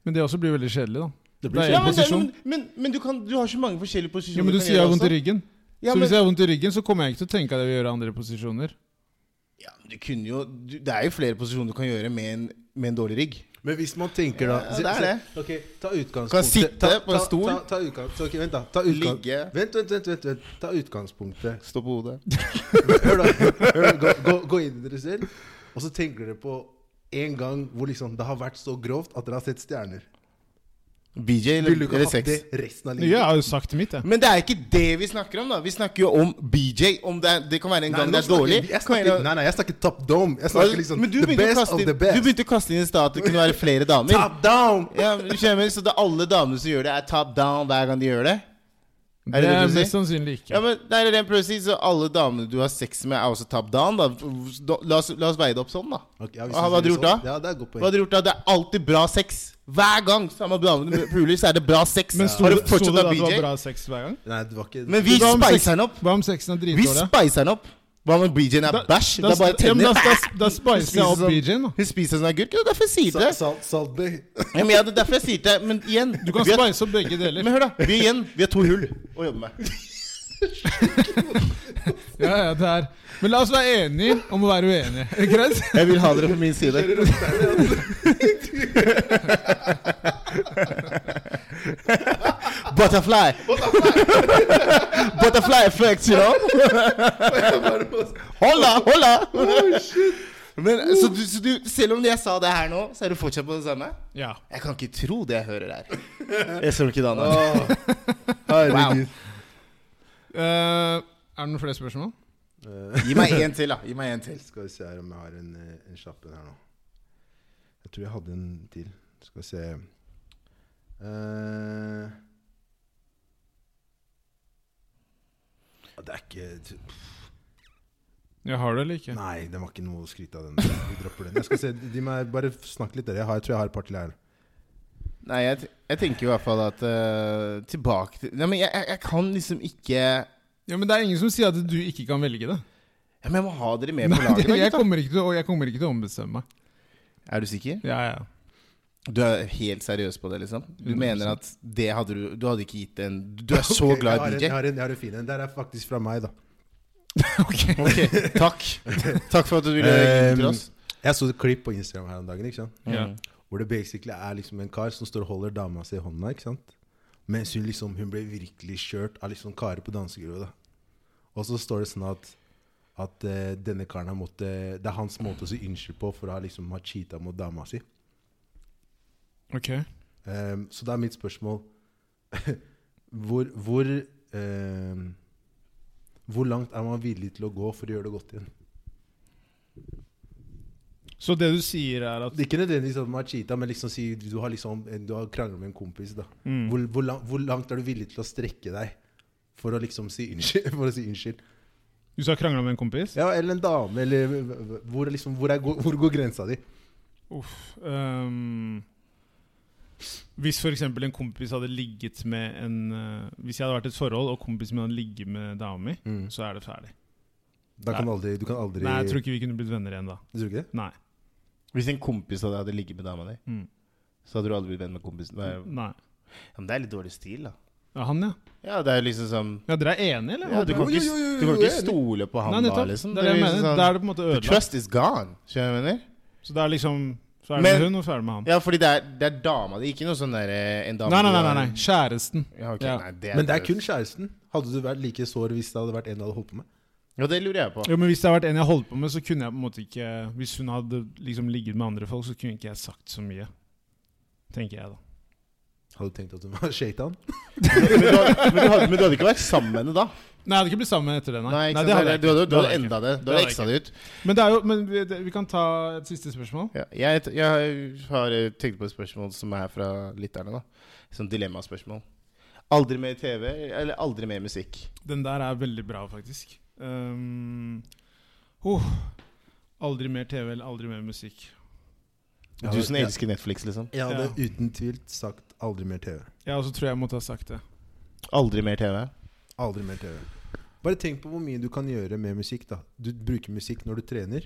Men det også blir veldig kjedelig, da. Det blir er Ja, en men, det- posisjon. men, men, men du, kan, du har så mange forskjellige posisjoner. Ja, men du kan sier jeg gjøre har vondt i også. ryggen. Ja, Så men, hvis jeg har vondt i ryggen, så kommer jeg ikke til å tenke at jeg vil gjøre andre posisjoner. ja, men du kunne jo du, Det er jo flere posisjoner du kan gjøre med en, med en dårlig rygg. Men hvis man tenker da Ja, det er det. Ok, ta utgangspunktet Kan sitte ta, på en stol. Ta, ta, ta utgangs- ok, vent da ta utgang- Ligge. Vent, vent, vent, vent, vent Ta utgangspunktet Stå på hodet. Hør da, hør da gå, gå, gå inn i dere selv Og så tenker dere på en gang hvor liksom det har vært så grovt at dere har sett stjerner BJ eller, Vil du ikke eller ha det sex. resten av Jeg livet? har jo sagt mitt, jeg. Men det er ikke det vi snakker om, da. Vi snakker jo om BJ. Om det, er, det kan være en gang nå det er snakker- dårlig. jeg Kan snakker, være- Nei, nei, jeg snakker top dome Jeg snakker liksom Altså, men du the begynte, å best kaste of inn, the du best begynte å kaste inn i stad at det kunne være flere damer. Top down Ja, men du skjønner, så det er alle damene som gjør det, er top down hver gang de gjør det? Det Er det det er du mest sier? sannsynlig Ja, ikke. men det er det jeg prøver å si, så alle damene du har sex med, er også top down, da. Da- La oss, la oss veie det opp sånn, da. Ok, ja, hvis Hva du hadde sier du sånn. gjort da? Ja, det er et godt Hva poeng hadde du gjort da? Det er alltid bra sex. Hver gang samme dame du puler, så er det bra sex. Men sto har du det sto det fortsatt da av at det var BJ? bra sex hver gang? Nei, det var ikke Men vi Da om sex- spicer den opp. Hva om sexen er Vi dritdårlig? spicer den opp. Hva om BJ-en er Da- bæsj? Det da er bare sp- ja, men tenner. da- da- Da spiser jeg opp Spiser sånn. BJ-en, da. Hun spiser som en agurk, det er derfor jeg sier Sa- det. Salt, salt, Bay. Ja, men ja, det er derfor jeg sier det. Men igjen Du kan vi har- spice opp begge deler. Men hør, da. Vi igjen, vi har to hull å jobbe med. Ja, ja, det er. Men la oss være enige om å være uenige. Er det Greit? Jeg vil ha dere på min side. Butterfly. Butterfly effect, you know. Holla, holla. Men, så, du, så du, selv om jeg sa det her nå, så er du fortsatt på det samme? Ja. Jeg kan ikke tro det jeg hører her. Jeg ser ikke det annet. Åh, Herregud Eh, er det noen flere spørsmål? Eh, Gi meg én til, da. Gi meg en til. Skal vi se her om jeg har en, eh, en kjapp en her nå. Jeg tror jeg hadde en til. Skal vi se Eh, ja, Det er ikke Ja, har du eller ikke? Nei, den var ikke noe å skryte av. den Vi dropper den. Jeg skal se, de må Bare snakke litt, dere. Jeg, har, jeg tror jeg har et par til her. Nei, jeg, t- jeg tenker i hvert fall at eh, Tilbake til Nei, men jeg, jeg, jeg kan liksom ikke ja, Ja, men det er ingen som sier at du ikke kan velge det. Men jeg må ha dere med på Nei, laget. da, jeg gutta. kommer ikke til å, jeg kommer ikke til å ombestemme meg. Er du sikker? Ja, ja. Du er helt seriøs på det, liksom? Du 100%. mener at det hadde du Du hadde ikke gitt en Du er så Ok, glad i jeg DJ? har en, jeg har en, jeg har en fin en. Der er faktisk fra meg, da. Ok. Ok, takk. Takk for at du ville gi den til oss. Eh, Jeg så et klipp på Instagram her om dagen. ikke sant? Ja. Mm. Hvor det basically er liksom en kar som står og holder dama si i hånda, ikke sant? Mens hun liksom, hun ble virkelig kjørt av liksom karer på dansegulvet, da. Og så står det sånn at, at eh, denne karen har måttet, det er hans måte å si unnskyld på for å ha liksom ha cheatet mot dama si. Ok. Ehm, så da er mitt spørsmål, hvor, hvor, ehm, hvor langt er man villig til å gå for å gjøre det godt igjen? Så det du sier, er at Det er ikke nødvendigvis at man har cheatet, men liksom si, du har liksom, du har kranglet med en kompis da. mm. Hvor, hvor, lang, hvor langt er du villig til å strekke deg for å liksom si unnskyld. For å si unnskyld. Du skal krangle med en kompis? Ja, eller en dame, eller v- v- hvor, er liksom, hvor, er, gå- hvor går grensa di? Uff. ehm, hvis f.eks. en kompis hadde ligget med en eh, Hvis jeg hadde vært i et forhold, og kompisen min hadde ligget med dama mi, så er det ferdig. Da kan du aldri, du kan aldri Mm. Nei, Jeg tror ikke vi kunne blitt venner igjen da. Du tror ikke det? Nei. Hvis en kompis av deg hadde ligget med dama di, Mm. så hadde du aldri blitt venn med kompisen. Det er, Nei. ja, men det er litt dårlig stil, da. Ja, han, ja. Ja, det er jo liksom sånn Ja, Dere er enige, eller? ja, Du kan Jo, ikke, jo, jo, jo, du kan ikke jeg er enig. stole på Nei, han da, nettopp. liksom. Det er det jeg liksom mener. sånn- Da er det på en måte The ødelagt. trust is gone. Skjønner du hva jeg mener? Så det er liksom Så er det Men- med hun, og så er det med han. Ja, fordi det er, det er dama di, ikke noe sånn derre en dame Nei, nei, du nei, har- nei, nei. Kjæresten. Ja, ok, Ja. Nei, Men det er kun kjæresten. Hadde du vært like sår hvis det hadde vært en du hadde holdt på med? Ja, det lurer jeg på. Jo, men Hvis det hadde vært en jeg holdt på med, så kunne jeg på en måte ikke Hvis hun hadde liksom ligget med andre folk, så kunne ikke jeg sagt så mye. Tenker jeg, da. Hadde du tenkt at hun var shaitan? men, du hadde, men, du hadde, men du hadde ikke vært sammen med henne da? Nei, jeg hadde ikke blitt sammen etter det, nei. Nei, ikke nei sant? hadde jeg du hadde, ikke. du hadde Det jeg enda det. Du Det hadde hadde jeg eksa det ut. ikke. Men, det er jo, men vi, det, vi kan ta et siste spørsmål. Ja, jeg, jeg har eh, tenkt på et spørsmål som er fra lytterne. da Sånn dilemmaspørsmål. Aldri mer TV eller aldri mer musikk? Den der er veldig bra, faktisk. Um, oh, aldri mer TV eller aldri mer musikk. Ja, Du som ja. elsker Netflix, liksom. Jeg hadde uten tvil sagt aldri mer TV. Ja, og så tror jeg jeg måtte ha sagt det. Aldri mer TV. Aldri mer TV. Bare tenk på hvor mye du kan gjøre med musikk. da Du bruker musikk når du trener.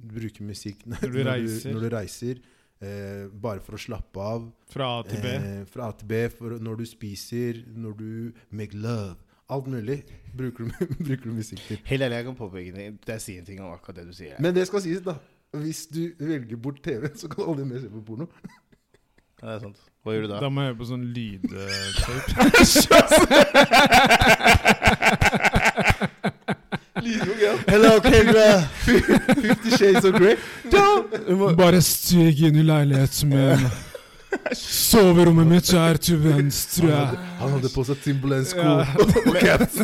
Du bruker musikk når, Når du reiser. Når du, reiser eh, bare for å slappe av. Fra A til B. Eh, fra A til B. For, når du spiser, når du make love. Alt mulig bruker du, bruker du musikk til. Helt ærlig, jeg kan påpeke det. Jeg sier en ting om akkurat det du sier. Men det skal sies, da. Hvis du velger bort TV, så kan du aldri mer se på porno. ja, det er sant. Hva gjør du da? Da må jeg høre på sånn lydtape. Hello, Kendra! Fifty Shades of Grey. Bare stig inn i leiligheten min. Soverommet mitt er til Han venstre. hadde, han hadde på seg Timberland sko Ja. og caps.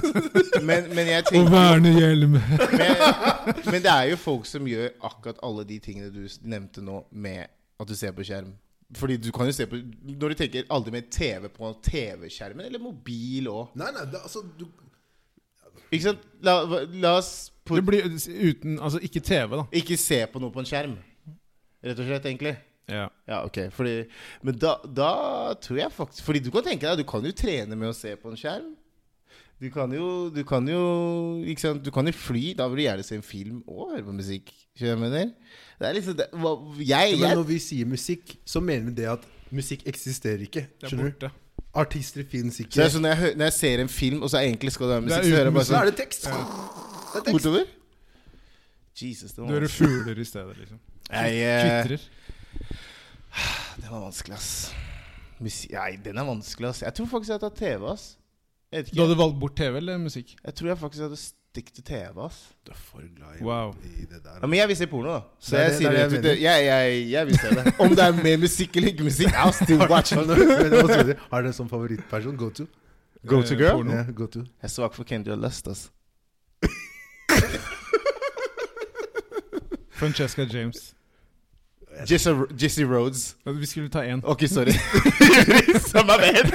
Men, men jeg Og tenker vernehjelm. men, men det er jo folk som gjør akkurat alle de tingene du s- nevnte nå, med at du ser på skjerm. Fordi du kan jo se på Når du tenker aldri mer TV på TV-skjermen, eller mobil òg. Nei, nei, det, altså du, Ikke sant? La, la oss på, Det blir uten Altså, ikke TV, da. ikke se på noe på en skjerm. Rett og slett, egentlig. Ja. Ja, ok. Fordi, men da, da tror jeg faktisk Fordi du kan tenke deg, du kan jo trene med å se på en skjerm. Du kan jo, du kan jo ikke sant? Du kan jo fly. Da vil du gjerne se en film og høre på musikk. Skjønner du hva jeg mener? Det er liksom det, hva, jeg, Men jeg, når vi sier musikk, så mener vi det at musikk eksisterer ikke. Det er Skjønner du? borte. Artister finnes så det ikke. er sånn når, jeg hø- når jeg ser en film, og så egentlig skal det være Det er musikk, så hører jeg uten bare Så sånn er det tekst. Det er tekst. bortover. Jesus, det Du var hører vanskelig. fugler i stedet, liksom. Jeg, eh, Kvitrer. det var vanskelig, ass. Musi- Nei, den er vanskelig, ass. Jeg tror faktisk jeg tar TV, ass. Jeg, vet Du ikke. hadde valgt bort TV eller musikk? jeg tror jeg faktisk hadde stikk til TV, ass. Du er for glad Wow. i det der. Ja, men jeg vil se porno, da. Så Det er jeg det- sier det er det. det Jeg, jeg jeg, jeg, vil se det. Om det er med musikk eller ikke musikk, I'll still watch Har it. du- men jeg må spørre deg, har dere en sånn favorittperson? Go to? Go to girl? porno. Ja, go to. eh, Jeg er svak for Kendra Lust, ass. Francesca James. Jesse Rhodes. Ja, Vi skulle ta én. Ok, sorry. Samme med.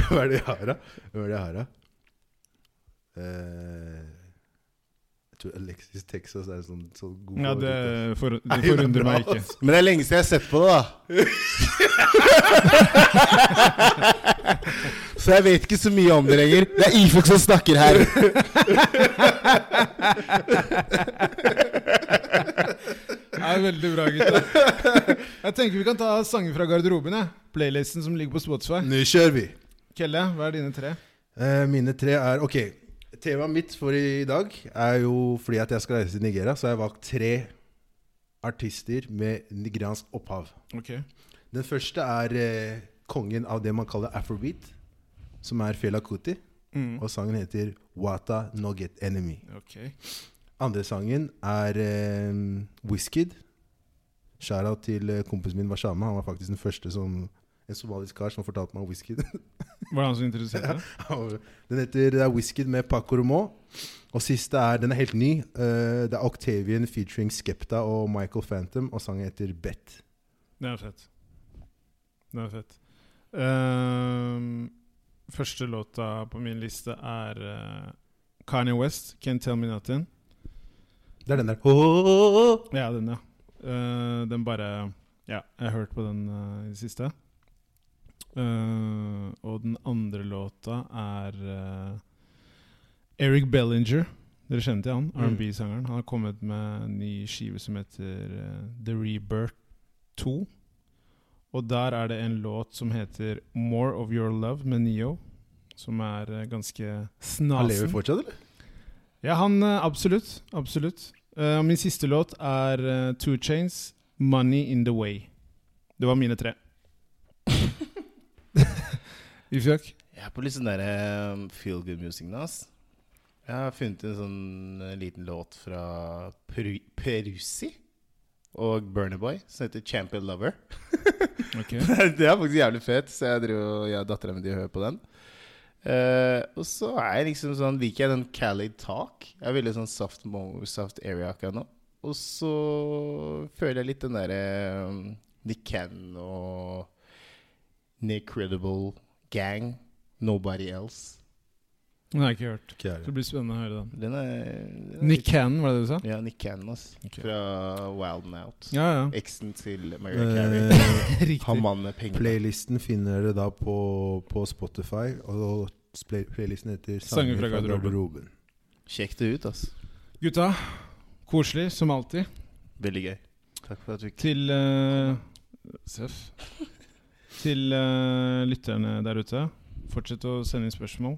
Hva er det jeg har, da? Hva er det jeg har, da? Eh, jeg tror Alexis Texas er en sånn, sånn god Ja, det, favoritt, for, ass. det forundrer meg ikke. Men det er lenge siden jeg har sett på det, da. Så jeg vet ikke så mye om det lenger. Det er Ifuk som snakker her. Ja, veldig bra, gutta. Jeg tenker vi kan ta sanger fra garderoben. jeg. Playlisten som ligger på Spotify. Nå kjører vi! Kelle, hva er dine tre? Eh, mine tre er Ok, temaet mitt for i dag er jo fordi at jeg skal reise til Nigeria, så har jeg valgt tre artister med nigeriansk opphav. Ok Den første er eh, kongen av det man kaller afrobeat, som er Fela Kuti. Mm. Og sangen heter Wata No Get Enemy. Ok Andre sangen er eh, Wizkid. Shout-out til eh, kompisen min Washama. Han var faktisk den første som en somalisk kar som fortalte meg om Wizkid. Var det han som introduserte deg? Den heter det er Whisky med Paco Romo. Og siste er Den er helt ny. Eh, det er Octavian featuring Skepta og Michael Phantom, og sangen heter Bet. Det er fett. Det er fett. Ehm, Første låta på min liste er eh, Kanye West, 'Can't Tell Me Nothing'. Det er den der. Åh! Ja, den, ja. Eh, den bare Ja, jeg har hørt på den eh, i det siste. Eh, og den andre låta er eh, Eric Bellinger. Dere kjenner til han, Mm. R&B-sangeren. Han har kommet med en ny skive som heter eh, The Rebirth 2. Og der er det en låt som heter More of Your Love med Neo, som er eh, ganske Han lever snasen. fortsatt, eller? Ja, han eh, Absolutt. Absolutt. Eh, og min siste låt er eh, Two Chains, 'Money In The Way'. Det var mine tre. Ifjak? Jeg er på litt sånn der eh, feel good music nå, ass. Jeg har funnet en sånn eh, liten låt fra Peru Peruzzi og Burner Boy som heter 'Champion Lover'. Ok. det er faktisk jævlig fett, så jeg, driver, og- jeg og dattera mi hører på den. Eh, og så er jeg liksom sånn liker jeg den Cali Talk. Jeg er veldig sånn soft, mo soft area akkurat nå. Og så føler jeg litt den derre um, Nick Cannon og Necredible Gang. Nobody Else. Den har jeg ikke hørt. Ikke jeg Så heller. det blir spennende å høre den. Den er, den er Nick Cannon, var det det du sa? litt- Ja, Nick Cannon, ass. Ok. Fra Wild N' Out. Ja, ja. Eksen til Mary Carey. Eh, Han mannen med penger. playlisten finner dere da på, på Spotify. Og play- playlisten heter Sanger fra garderoben. Sjekk det ut, ass. Gutta, koselig som alltid. Veldig gøy. Takk for at du Til eh, Seff. Til eh, lytterne der ute, fortsett å sende inn spørsmål.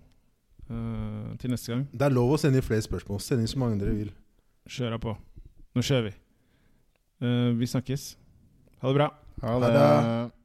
Eh, til neste gang, Det er lov å sende inn flere spørsmål. Send inn så mange dere vil. kjøra på. Nå kjører vi. Eh, vi snakkes. Ha det bra. Ha det. det.